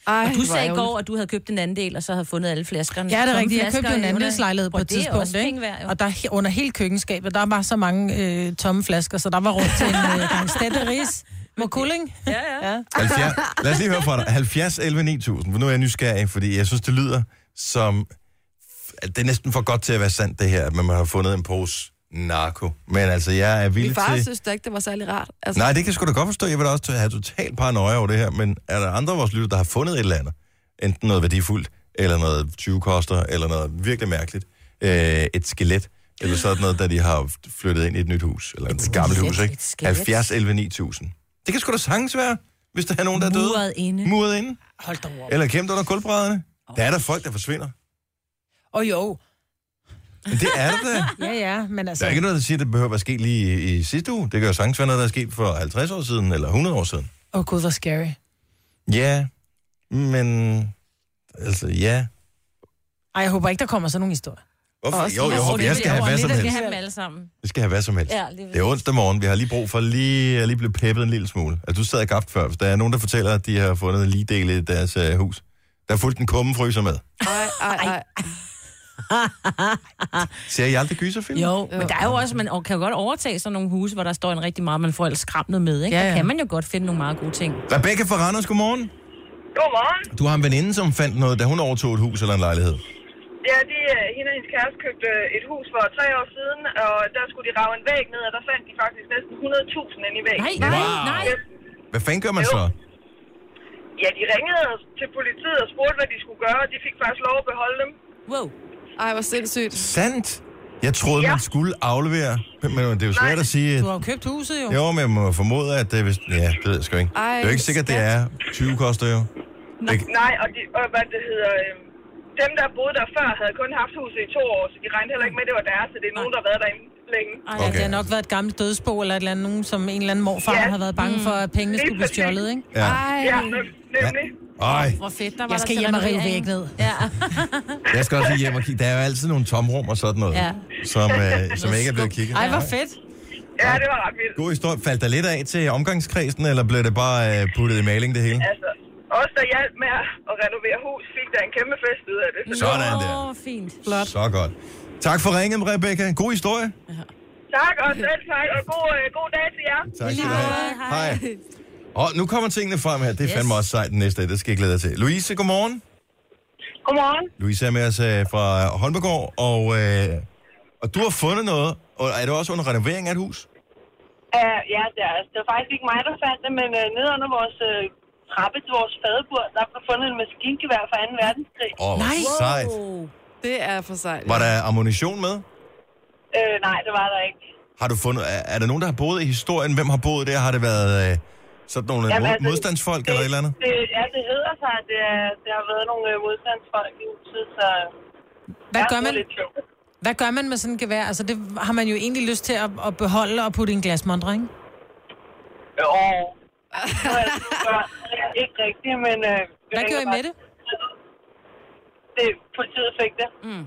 [SPEAKER 3] Ej,
[SPEAKER 4] og du
[SPEAKER 2] hvor
[SPEAKER 4] sagde i
[SPEAKER 2] ærgerligt.
[SPEAKER 4] går, at du havde købt en andel, og så havde fundet alle flaskerne.
[SPEAKER 2] Ja, det er
[SPEAKER 4] Tomme
[SPEAKER 2] rigtigt. Jeg
[SPEAKER 4] flasker
[SPEAKER 2] købte jo en
[SPEAKER 4] under-
[SPEAKER 2] andelslejlighed på
[SPEAKER 4] Og
[SPEAKER 2] et
[SPEAKER 4] det er
[SPEAKER 2] tidspunkt,
[SPEAKER 4] også penge værd,
[SPEAKER 2] ikke? Og der, he- under hele køkkenskabet, der var så mange øh, tomme flasker, så der var rundt til en øh, gang stætte ris med kulling. Ja, ja. ja.
[SPEAKER 1] 70, lad os lige høre fra dig. 70 11 9000, for nu er jeg nysgerrig, fordi jeg synes, det lyder som... at Det er næsten for godt til at være sandt, det her, at man har fundet en pose narko. Men altså, jeg er
[SPEAKER 3] Min
[SPEAKER 1] villig
[SPEAKER 3] far
[SPEAKER 1] til...
[SPEAKER 3] synes da ikke, det var særlig rart. Altså,
[SPEAKER 1] Nej, det kan jeg sgu da godt forstå. Jeg vil da også have totalt paranoia over det her, men er der andre af vores lytter, der har fundet et eller andet? Enten noget værdifuldt, eller noget 20 koster, eller noget virkelig mærkeligt. Øh, et skelet, eller sådan noget, da de har flyttet ind i et nyt hus, eller et, gammelt hus,
[SPEAKER 8] skelet,
[SPEAKER 1] ikke?
[SPEAKER 8] et skelet.
[SPEAKER 1] 70 11 9000. Det kan sgu da sagtens være. hvis der er nogen, der er døde?
[SPEAKER 4] Muret inde.
[SPEAKER 1] Muret inde.
[SPEAKER 2] Hold da op.
[SPEAKER 1] Eller kæmpet under kulbrædderne? Der er der folk, der forsvinder.
[SPEAKER 2] Og jo.
[SPEAKER 1] Men det er der da.
[SPEAKER 2] Ja, ja, men altså...
[SPEAKER 1] Der er ikke noget, der siger, at det behøver at ske lige i, i sidste uge. Det kan jo sagtens være noget, der er sket for 50 år siden, eller 100 år siden.
[SPEAKER 2] Åh oh, gud, hvor scary.
[SPEAKER 1] Ja, men... Altså, ja.
[SPEAKER 2] Ej, jeg håber ikke, der kommer sådan nogle historier.
[SPEAKER 1] Hvorfor?
[SPEAKER 2] Og også-
[SPEAKER 1] Jo, jo,
[SPEAKER 2] Åh,
[SPEAKER 1] for
[SPEAKER 2] det
[SPEAKER 1] jeg
[SPEAKER 2] vil
[SPEAKER 1] skal have
[SPEAKER 2] over
[SPEAKER 1] hvad
[SPEAKER 2] lidt,
[SPEAKER 1] som
[SPEAKER 2] jeg skal
[SPEAKER 1] helst.
[SPEAKER 2] have dem
[SPEAKER 4] alle sammen.
[SPEAKER 1] Vi skal have hvad som helst.
[SPEAKER 4] Ja,
[SPEAKER 1] Ja,
[SPEAKER 4] lige
[SPEAKER 1] det er onsdag morgen. Vi har lige brug for lige, at lige blive peppet en lille smule. Altså, du sad og gabt før. Hvis der er nogen, der fortæller, at de har fundet en lige del i deres uh, hus, der er fuldt en kumme fryser med.
[SPEAKER 3] Ej, ej, ej.
[SPEAKER 1] Ser I aldrig gyserfilm?
[SPEAKER 4] Jo, men der er jo også, man kan jo godt overtage sådan nogle huse, hvor der står en rigtig meget, man får ellers skræmt noget med, ikke?
[SPEAKER 1] Ja, ja.
[SPEAKER 4] Ja, ja. Der kan man jo godt finde nogle meget gode ting.
[SPEAKER 1] Rebecca fra Randers, godmorgen.
[SPEAKER 13] Godmorgen.
[SPEAKER 1] Du har en veninde, som fandt noget, da hun overtog et hus eller en lejlighed.
[SPEAKER 13] Ja, det er øh, hende og hendes kæreste købte øh, et hus for tre år siden, og der skulle de rave en væg ned, og der fandt de faktisk næsten 100.000 inde i væggen.
[SPEAKER 1] Nej, nej, Wow. nej. Hvad fanden gør man så?
[SPEAKER 13] Ja, de ringede til politiet og spurgte, hvad de skulle gøre, og de fik faktisk lov at beholde dem.
[SPEAKER 4] Wow.
[SPEAKER 3] Ej, hvor sindssygt.
[SPEAKER 1] Sandt? Jeg troede,
[SPEAKER 3] Ja.
[SPEAKER 1] ja. man skulle aflevere. Men det er jo svært at sige...
[SPEAKER 2] Du har jo købt huset, jo.
[SPEAKER 1] Jo, men jeg må formode, at det, hvis... Ja, det ved jeg sgu ikke.
[SPEAKER 13] Ej,
[SPEAKER 1] det er jo ikke sikkert, det er 20 koster jo.
[SPEAKER 13] Nej, nej og, de, og hvad det hedder... Øh, dem, der boede der før, havde kun haft huset i to år, så de regnede heller ikke med, at det var deres, så det er nogen, der har været derinde længe.
[SPEAKER 2] Ej, okay. det har nok været et gammelt dødsbo, eller et eller andet, nogen, som en eller anden morfar
[SPEAKER 13] Ja.
[SPEAKER 2] har været bange
[SPEAKER 4] Mm.
[SPEAKER 2] for, at pengene
[SPEAKER 13] Lige
[SPEAKER 2] skulle blive
[SPEAKER 13] præcis.
[SPEAKER 2] stjålet, ikke?
[SPEAKER 1] Ja.
[SPEAKER 13] Ja, nem- nemlig.
[SPEAKER 1] Ej,
[SPEAKER 4] Hvor fedt, der var
[SPEAKER 2] Jeg skal
[SPEAKER 4] der til
[SPEAKER 2] hjem og rive
[SPEAKER 4] renovering.
[SPEAKER 2] væk ned.
[SPEAKER 4] Ja.
[SPEAKER 1] jeg skal også lige hjem og kigge. Der er jo altid nogle tomrum og sådan noget,
[SPEAKER 4] Ja.
[SPEAKER 1] ja. som, øh, som ikke er blevet kigget.
[SPEAKER 2] Ej, hvor fedt.
[SPEAKER 13] Ja, det var ret vildt.
[SPEAKER 1] God historie. Faldt der lidt af til omgangskredsen, eller blev det bare øh, puttet i maling det hele?
[SPEAKER 13] Altså, os, der hjalp med at renovere hus, fik der en kæmpe fest ud af det.
[SPEAKER 1] Sådan der.
[SPEAKER 4] Åh, fint.
[SPEAKER 1] Flot. Så godt. Tak for ringen, Rebecca. God historie.
[SPEAKER 13] Tak, og selv tak, og god, øh, god dag til jer.
[SPEAKER 1] Tak skal du have. Hej. Og nu kommer tingene frem her. Det er yes. fandme også sejt den næste dag. Det skal jeg glæde dig til. Louise, godmorgen.
[SPEAKER 13] Godmorgen.
[SPEAKER 1] Louise er med os øh, fra Holmegård, og, øh, og du har fundet noget. Og er det også under renovering af et hus?
[SPEAKER 13] Uh, ja, det er, det var faktisk ikke mig, der fandt det, men uh, nede under vores uh, trappe til vores fadebur, der blev fundet en maskingevær fra 2. verdenskrig.
[SPEAKER 1] Åh, hvor Nej. sejt.
[SPEAKER 3] Det er for sejt.
[SPEAKER 1] Var der ammunition med?
[SPEAKER 13] Uh, nej, det var der ikke.
[SPEAKER 1] Har du fundet, er, er der nogen, der har boet i historien? Hvem har boet der? Har det været øh, sådan nogle
[SPEAKER 13] Jamen,
[SPEAKER 1] Jamen, mod,
[SPEAKER 13] altså,
[SPEAKER 1] modstandsfolk eller et eller andet?
[SPEAKER 13] Det, ja, det hedder sig, at det, er, det har været nogle uh, modstandsfolk i huset, så...
[SPEAKER 2] Hvad
[SPEAKER 13] Ja,
[SPEAKER 2] gør
[SPEAKER 13] det
[SPEAKER 2] man?
[SPEAKER 13] er lidt sjovt.
[SPEAKER 2] Hvad gør man med sådan et gevær? Altså, det har man jo egentlig lyst til at, at beholde og putte i en glasmontre, ikke?
[SPEAKER 13] Jo. Nu er altså- det sgu børn. ikke rigtigt, men... Uh,
[SPEAKER 2] Hvad gjorde I med det?
[SPEAKER 13] det? Politiet fik det. Mm.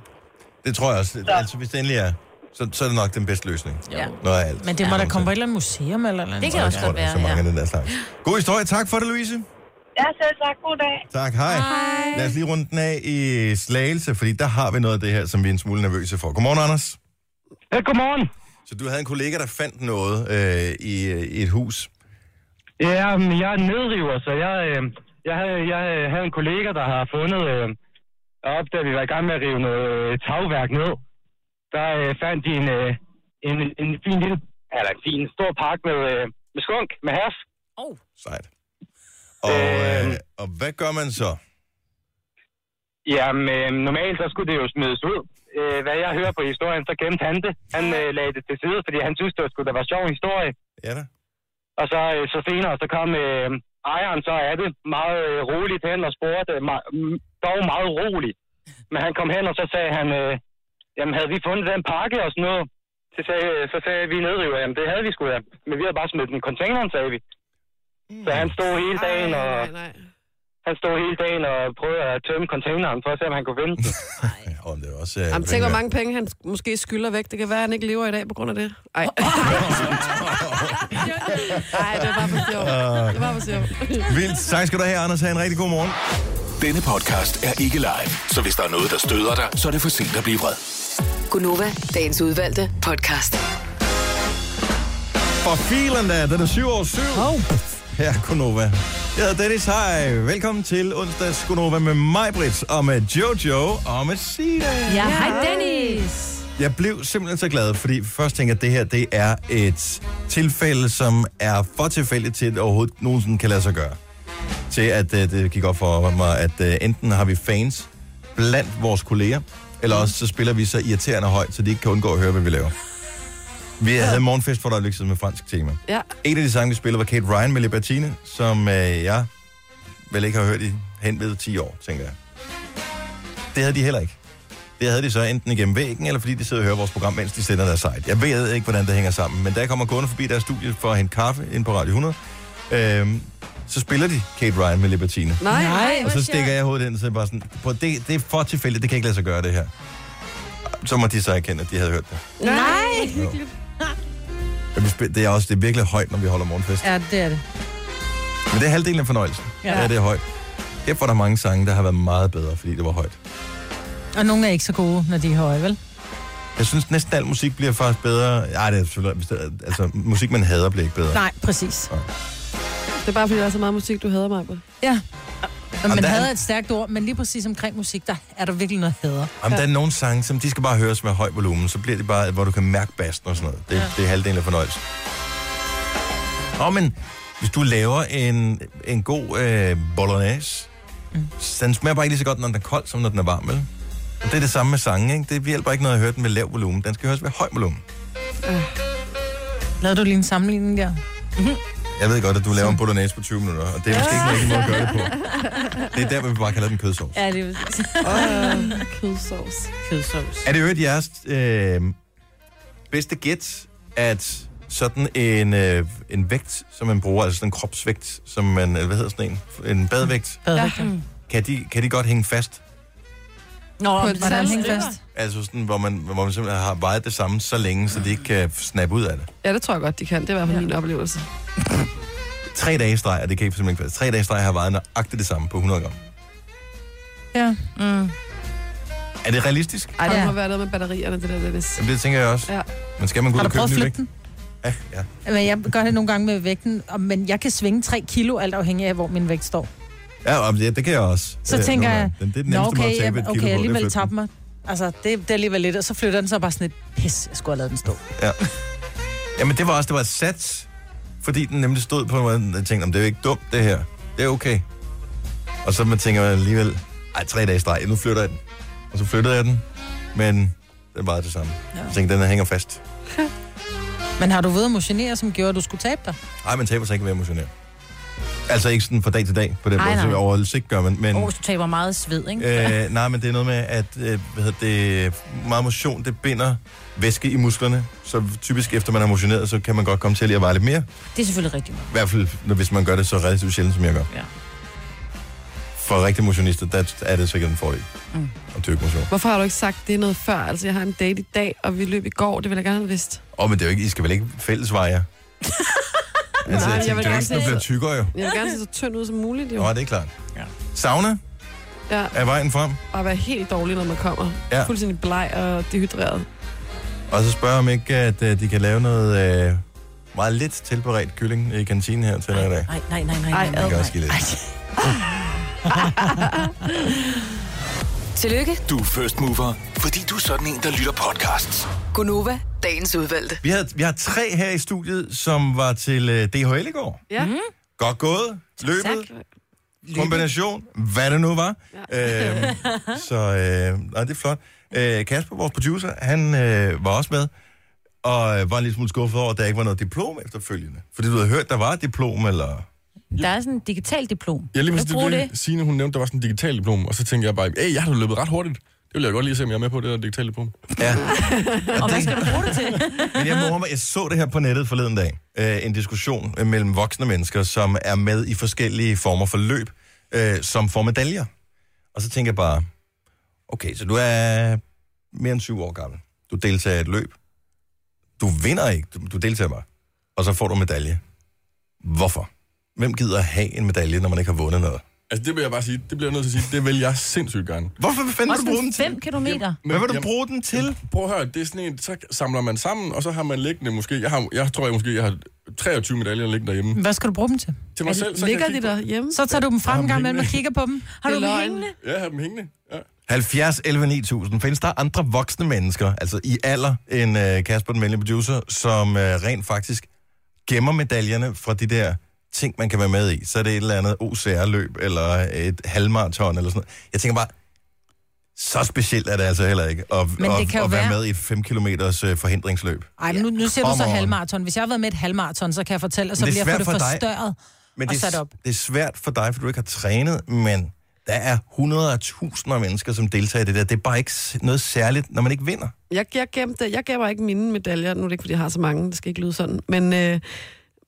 [SPEAKER 1] Det tror jeg også. Altså, hvis det endelig er, så, så er det nok den bedste løsning.
[SPEAKER 13] Ja.
[SPEAKER 1] Når alt.
[SPEAKER 2] Men det må da komme på et eller andet museum eller noget.
[SPEAKER 1] Det kan også godt være, så mange ja. af den der slags. God historie. Tak for det, Louise.
[SPEAKER 13] Ja, selv tak. God dag.
[SPEAKER 1] Tak, hej. hej. Lad os lige runde den af i Slagelse, fordi der har vi noget af det her, som vi er en smule nervøse for. Godmorgen, Anders.
[SPEAKER 14] Ja, godmorgen.
[SPEAKER 1] Så du havde en kollega, der fandt noget øh, i, i et hus.
[SPEAKER 14] Ja, men jeg er nedriver, så jeg, øh, jeg, havde, jeg øh, havde en kollega, der har fundet øh, op, da vi var i gang med at rive noget øh, tagværk ned. Der øh, fandt de en, øh, en, en fin lille, eller en fin stor pakke med, øh, med skunk, med has.
[SPEAKER 4] Oh.
[SPEAKER 1] Sejt. Og,
[SPEAKER 14] Øhm.
[SPEAKER 1] øh, og hvad gør man så?
[SPEAKER 14] Jamen, øh, normalt så skulle det jo smides ud. Øh, hvad jeg hører på historien, så gemte han det. Han øh, lagde det til side, fordi han synes, det var sgu da var sjov historie.
[SPEAKER 1] Ja da.
[SPEAKER 14] Og så, øh, så senere, så kom øh, ejeren så af det meget øh, roligt hen og spurgte, øh, me- m- dog meget roligt. Men han kom hen, og så sagde han, øh, jamen havde vi fundet den pakke og sådan noget? Så sagde, øh, så sagde vi nedriver, jamen det havde vi sgu da. Men vi havde bare smidt den i containeren, sagde vi. Så han stod hele dagen og... Han stod hele dagen og prøvede at tømme containeren for at se, om han kunne vinde den.
[SPEAKER 1] Om det er også... Øh,
[SPEAKER 3] Jamen, tænk, hvor mange penge han måske skylder væk. Det kan være, at han ikke lever i dag på grund af det. Ej. Nej, det var for sjovt. Ah. Det var for sjovt.
[SPEAKER 1] Vildt. Tak skal du have, Anders. Ha' en rigtig god morgen.
[SPEAKER 15] Denne podcast er ikke live, så hvis der er noget, der støder dig, så er det for sent at blive vred.
[SPEAKER 7] Gunova, dagens udvalgte podcast.
[SPEAKER 1] For filen da, den er 7 år 7. Oh. Her er Gunova. Jeg hedder Dennis, hej. Velkommen til onsdags Gunova med mig, Brits, og med Jojo og med Sina.
[SPEAKER 4] Ja, hej Dennis.
[SPEAKER 1] Jeg blev simpelthen så glad, fordi først tænker jeg, at det her det er et tilfælde, som er for tilfældigt til, at det overhovedet nogensinde kan lade sig gøre. Til at uh, det gik op for mig, at uh, enten har vi fans blandt vores kolleger, eller også så spiller vi så irriterende højt, så de ikke kan undgå at høre, hvad vi laver. Vi havde morgenfest for et øjeblik siden med fransk tema.
[SPEAKER 3] Ja.
[SPEAKER 1] En af de sange, vi spillede, var Kate Ryan med Libertine, som øh, jeg vel ikke har hørt i hen ved 10 år, tænker jeg. Det havde de heller ikke. Det havde de så enten igennem væggen, eller fordi de sidder og hører vores program, mens de sender deres site. Jeg ved ikke, hvordan det hænger sammen, men da jeg kommer gående forbi deres studie for at hente kaffe ind på Radio 100, øh, så spiller de Kate Ryan med Libertine.
[SPEAKER 3] Nej, nej,
[SPEAKER 1] Og
[SPEAKER 3] hvor
[SPEAKER 1] så stikker jeg hovedet ind, så er jeg bare sådan, "Prøv, det, det er for tilfældigt, det kan ikke lade sig gøre det her. Så må de så erkende, at de havde hørt det.
[SPEAKER 5] Nej!
[SPEAKER 1] Men vi spil- Det er også det er virkelig højt, når vi holder morgenfest.
[SPEAKER 5] Ja, det er det.
[SPEAKER 1] Men det er halvdelen af fornøjelsen.
[SPEAKER 5] Ja.
[SPEAKER 1] Ja. ja det er højt. Kæft, hvor der er mange sange, der har været meget bedre, fordi det var højt.
[SPEAKER 2] Og nogle er ikke så gode, når de er høje, vel?
[SPEAKER 1] Jeg synes, næsten al musik bliver faktisk bedre. Nej, det er selvfølgelig... Altså, musik, man hader, bliver ikke bedre.
[SPEAKER 2] Nej, præcis.
[SPEAKER 3] Det er bare, fordi der er så meget musik, du hader mig på.
[SPEAKER 2] Ja. Og man
[SPEAKER 1] der er-
[SPEAKER 2] hader et stærkt ord, men lige præcis omkring musik, der er der virkelig noget hader.
[SPEAKER 1] Jamen, der er nogle sange, som de skal bare høres med høj volumen, så bliver det bare, hvor du kan mærke bassen og sådan noget. Det, ja. det er halvdelen af fornøjelsen. Og men, hvis du laver en, en god øh, bolognese, mm. den smager bare ikke lige så godt, når den er kold, som når den er varm, vel? Og det er det samme med sange, ikke? Det hjælper ikke noget at høre den med lav volumen. Den skal høres med høj volumen.
[SPEAKER 2] Øh. Lavede du lige en sammenligning der?
[SPEAKER 1] Jeg ved godt, at du laver en bolognese på 20 minutter, og det er måske ikke en rigtig måde at gøre det på. Det er der, hvor vi bare kalder den kødsovs.
[SPEAKER 4] Ja, det er
[SPEAKER 3] Åh, Ah, kødsovs.
[SPEAKER 4] Kødsovs.
[SPEAKER 1] Er det jo et jeres øh, bedste gæt, at sådan en, øh, en vægt, som man bruger, altså sådan en kropsvægt, som man, øh, hvad hedder sådan en, en badvægt,
[SPEAKER 2] Badevægter.
[SPEAKER 1] kan de, kan de godt hænge fast?
[SPEAKER 4] Nå,
[SPEAKER 2] På
[SPEAKER 4] men
[SPEAKER 2] et
[SPEAKER 4] det er
[SPEAKER 2] hvordan
[SPEAKER 4] samme
[SPEAKER 2] hænger
[SPEAKER 4] stykker.
[SPEAKER 2] fast?
[SPEAKER 1] Altså sådan, hvor man, hvor man simpelthen har vejet det samme så længe, så de ikke kan snappe ud af det.
[SPEAKER 3] Ja, det tror jeg godt, de kan. Det er i hvert fald ja. min oplevelse.
[SPEAKER 1] Tre dage i streg, og det kan I simpelthen ikke fast. Tre dage i streg har vejet nøjagtigt det samme på 100 gram.
[SPEAKER 2] Ja.
[SPEAKER 4] Mm.
[SPEAKER 1] Er det realistisk?
[SPEAKER 3] Ej, der må være noget med batterierne, det der, Dennis.
[SPEAKER 1] Jamen, det tænker jeg også.
[SPEAKER 3] Ja.
[SPEAKER 1] Men skal man gå ud
[SPEAKER 2] Har
[SPEAKER 1] og
[SPEAKER 2] du
[SPEAKER 1] købe
[SPEAKER 2] prøvet
[SPEAKER 1] en
[SPEAKER 2] at
[SPEAKER 1] ny
[SPEAKER 2] flytte
[SPEAKER 1] vægt? Ja, ja.
[SPEAKER 2] Men jeg gør det nogle gange med vægten, og- men jeg kan svinge 3 kilo, alt afhængig af, hvor min vægt står.
[SPEAKER 1] Ja, og det, det kan jeg også.
[SPEAKER 2] Så
[SPEAKER 1] Øh,
[SPEAKER 2] tænker
[SPEAKER 1] nogle
[SPEAKER 2] jeg,
[SPEAKER 1] gange. Den- det er den
[SPEAKER 2] nå,
[SPEAKER 1] nemmeste måde
[SPEAKER 2] okay,
[SPEAKER 1] at tabe et
[SPEAKER 2] jeg,
[SPEAKER 1] kilo
[SPEAKER 2] okay,
[SPEAKER 1] på, det
[SPEAKER 2] jeg
[SPEAKER 1] er at
[SPEAKER 2] alligevel
[SPEAKER 1] flytte den.
[SPEAKER 2] tabte mig. Altså, det, det er alligevel lidt, og så flytter den så bare sådan et pis, jeg skulle have lavet den stå.
[SPEAKER 1] Ja. Jamen, det var også, det var et sats, fordi den nemlig stod på en Jeg tænkte, "Nå, men det er jo ikke dumt, det her. Det er okay. Og så man tænker alligevel, ej, tre dage i streg, nu flytter jeg den. Og så flyttede jeg den, men det er bare det samme. Ja. Jeg tænkte, den her hænger fast.
[SPEAKER 2] Men har du ved at motionere, som gjorde, at du skulle tabe dig?
[SPEAKER 1] Ej, man taber sig ikke ved at motionere. Altså ikke sådan fra dag til dag, på den
[SPEAKER 4] Ej,
[SPEAKER 1] måde, så
[SPEAKER 4] nej.
[SPEAKER 1] overhovedet ikke gør man. Men,
[SPEAKER 4] Åh, du taber meget sved, ikke?
[SPEAKER 1] øh, nej, men det er noget med, at øh, hvad hedder det, meget motion, det binder væske i musklerne. Så typisk efter man har motioneret, så kan man godt komme til lige at veje lidt mere.
[SPEAKER 4] Det er selvfølgelig rigtigt.
[SPEAKER 1] I hvert fald, når- hvis man gør det så relativt sjældent, som jeg gør.
[SPEAKER 4] Ja.
[SPEAKER 1] For rigtige motionister, der er det sikkert en fordel
[SPEAKER 3] Mm.
[SPEAKER 1] at dyrke motion.
[SPEAKER 3] Hvorfor har du ikke sagt det noget før? Altså, jeg har en date i dag, og vi løb i går. Det ville jeg gerne have vidst.
[SPEAKER 1] Åh, men det er jo ikke, I skal vel ikke fællesveje jer? altså,
[SPEAKER 3] Nej,
[SPEAKER 1] Nej,
[SPEAKER 3] jeg
[SPEAKER 1] jeg tænkte,
[SPEAKER 3] vil
[SPEAKER 1] det er jo
[SPEAKER 3] gerne
[SPEAKER 1] ikke sådan,
[SPEAKER 3] se-
[SPEAKER 1] du bliver tykkere jo.
[SPEAKER 3] Jeg vil gerne se så tynd ud som muligt, jo.
[SPEAKER 1] Nå, det er klart. Ja. Sauna
[SPEAKER 3] Ja,
[SPEAKER 1] er vejen frem,
[SPEAKER 3] og være helt dårlig, når man kommer.
[SPEAKER 1] Ja.
[SPEAKER 3] Fuldstændig bleg og dehydreret.
[SPEAKER 1] og så spørger om ikke, at øh, de kan lave noget øh, meget lidt tilberedt kylling i kantinen her til i dag.
[SPEAKER 4] Nej, nej, nej, nej.
[SPEAKER 1] Ej, det kan også give lidt.
[SPEAKER 7] Tillykke,
[SPEAKER 8] Du er first mover, fordi du er sådan en, der lytter podcasts.
[SPEAKER 7] Gunova, dagens udvalgte.
[SPEAKER 1] Vi har, vi har tre her i studiet, som var til øh, DHL i går.
[SPEAKER 3] Ja. Mm.
[SPEAKER 1] Godt gået, løbet, kombination, hvad det nu var. Ja. Øhm, så øh, nej, det er flot. Øh, Kasper, vores producer, han øh, var også med, og øh, var en lille smule skuffet over, at der ikke var noget diplom efterfølgende. Fordi du havde hørt, der var et diplom, eller...
[SPEAKER 4] Der er sådan en digital diplom.
[SPEAKER 15] Jeg lige
[SPEAKER 4] Kan
[SPEAKER 15] præcis,
[SPEAKER 4] du
[SPEAKER 15] det,
[SPEAKER 4] bruge
[SPEAKER 15] var
[SPEAKER 4] det.
[SPEAKER 15] det. Signe, hun nævnte, der var sådan en digital diplom, og så tænkte jeg bare, hey, jeg har da løbet ret hurtigt. Det vil jeg godt lige se, om jeg er med på det der digitale diplom.
[SPEAKER 1] Ja.
[SPEAKER 4] Og hvad skal du bruge det til?
[SPEAKER 1] Men jeg må mig, jeg så det her på nettet forleden dag. Øh, en diskussion øh, mellem voksne mennesker, som er med i forskellige former for løb, øh, som får medaljer. Og så tænker jeg bare, okay, så du er mere end syv år gammel. Du deltager i et løb. Du vinder ikke, du, du deltager bare. Og så får du medalje. Hvorfor? Hvem gider have en medalje, når man ikke har vundet noget?
[SPEAKER 15] Altså, det vil jeg bare sige, det bliver jeg nødt til at sige, det vil jeg sindssygt gerne.
[SPEAKER 1] Hvorfor fanden
[SPEAKER 4] Også sådan 5 kilometer.
[SPEAKER 15] Men,
[SPEAKER 1] vil du bruge den til?
[SPEAKER 15] Prøv at høre, det er sådan en, så samler man sammen, og så har man liggende måske, jeg, har, jeg tror, jeg måske jeg har 23 medaljer liggende derhjemme.
[SPEAKER 2] Hvad skal du bruge dem til?
[SPEAKER 15] Til mig selv, så kan jeg kigge på-
[SPEAKER 3] hjemme?
[SPEAKER 2] Så tager du dem frem
[SPEAKER 15] Jeg har
[SPEAKER 2] en
[SPEAKER 15] dem
[SPEAKER 2] gang imellem og
[SPEAKER 15] hængende.
[SPEAKER 2] kigger på dem. Har du
[SPEAKER 15] Det
[SPEAKER 2] dem
[SPEAKER 15] er løgn.
[SPEAKER 2] hængende?
[SPEAKER 15] Ja, jeg har dem hængende. Ja.
[SPEAKER 1] 70, 11, 9000. Findes der andre voksne mennesker, altså i alder, end øh, Kasper, den venlige producer, som øh, rent faktisk gemmer medaljerne fra de der ting, man kan være med i? Så er det et eller andet OCR-løb, eller et halvmarathon, eller sådan noget. Jeg tænker bare, Så specielt er det altså heller ikke at,
[SPEAKER 2] Men det
[SPEAKER 1] at,
[SPEAKER 2] kan jo
[SPEAKER 1] at være
[SPEAKER 2] være-
[SPEAKER 1] med i et 5 km forhindringsløb.
[SPEAKER 2] Ej, men nu, nu ser du
[SPEAKER 1] Come
[SPEAKER 2] så
[SPEAKER 1] on.
[SPEAKER 2] halvmaraton. Hvis jeg har været med i et halvmaraton, så kan jeg fortælle, og så
[SPEAKER 1] Men
[SPEAKER 2] bliver
[SPEAKER 1] det er
[SPEAKER 2] jeg for det
[SPEAKER 1] svært for dig.
[SPEAKER 2] forstørret
[SPEAKER 1] Men
[SPEAKER 2] og
[SPEAKER 1] det,
[SPEAKER 2] sat
[SPEAKER 1] er,
[SPEAKER 2] op.
[SPEAKER 1] det er svært for dig, for du ikke har trænet, men der er hundreder og tusinder af mennesker, som deltager i det der. Det er bare ikke s- noget særligt, når man ikke vinder.
[SPEAKER 3] Jeg, jeg, gemte, jeg gemmer ikke mine medaljer. Nu er det ikke, fordi jeg har så mange. Det skal ikke lyde sådan. Men, øh,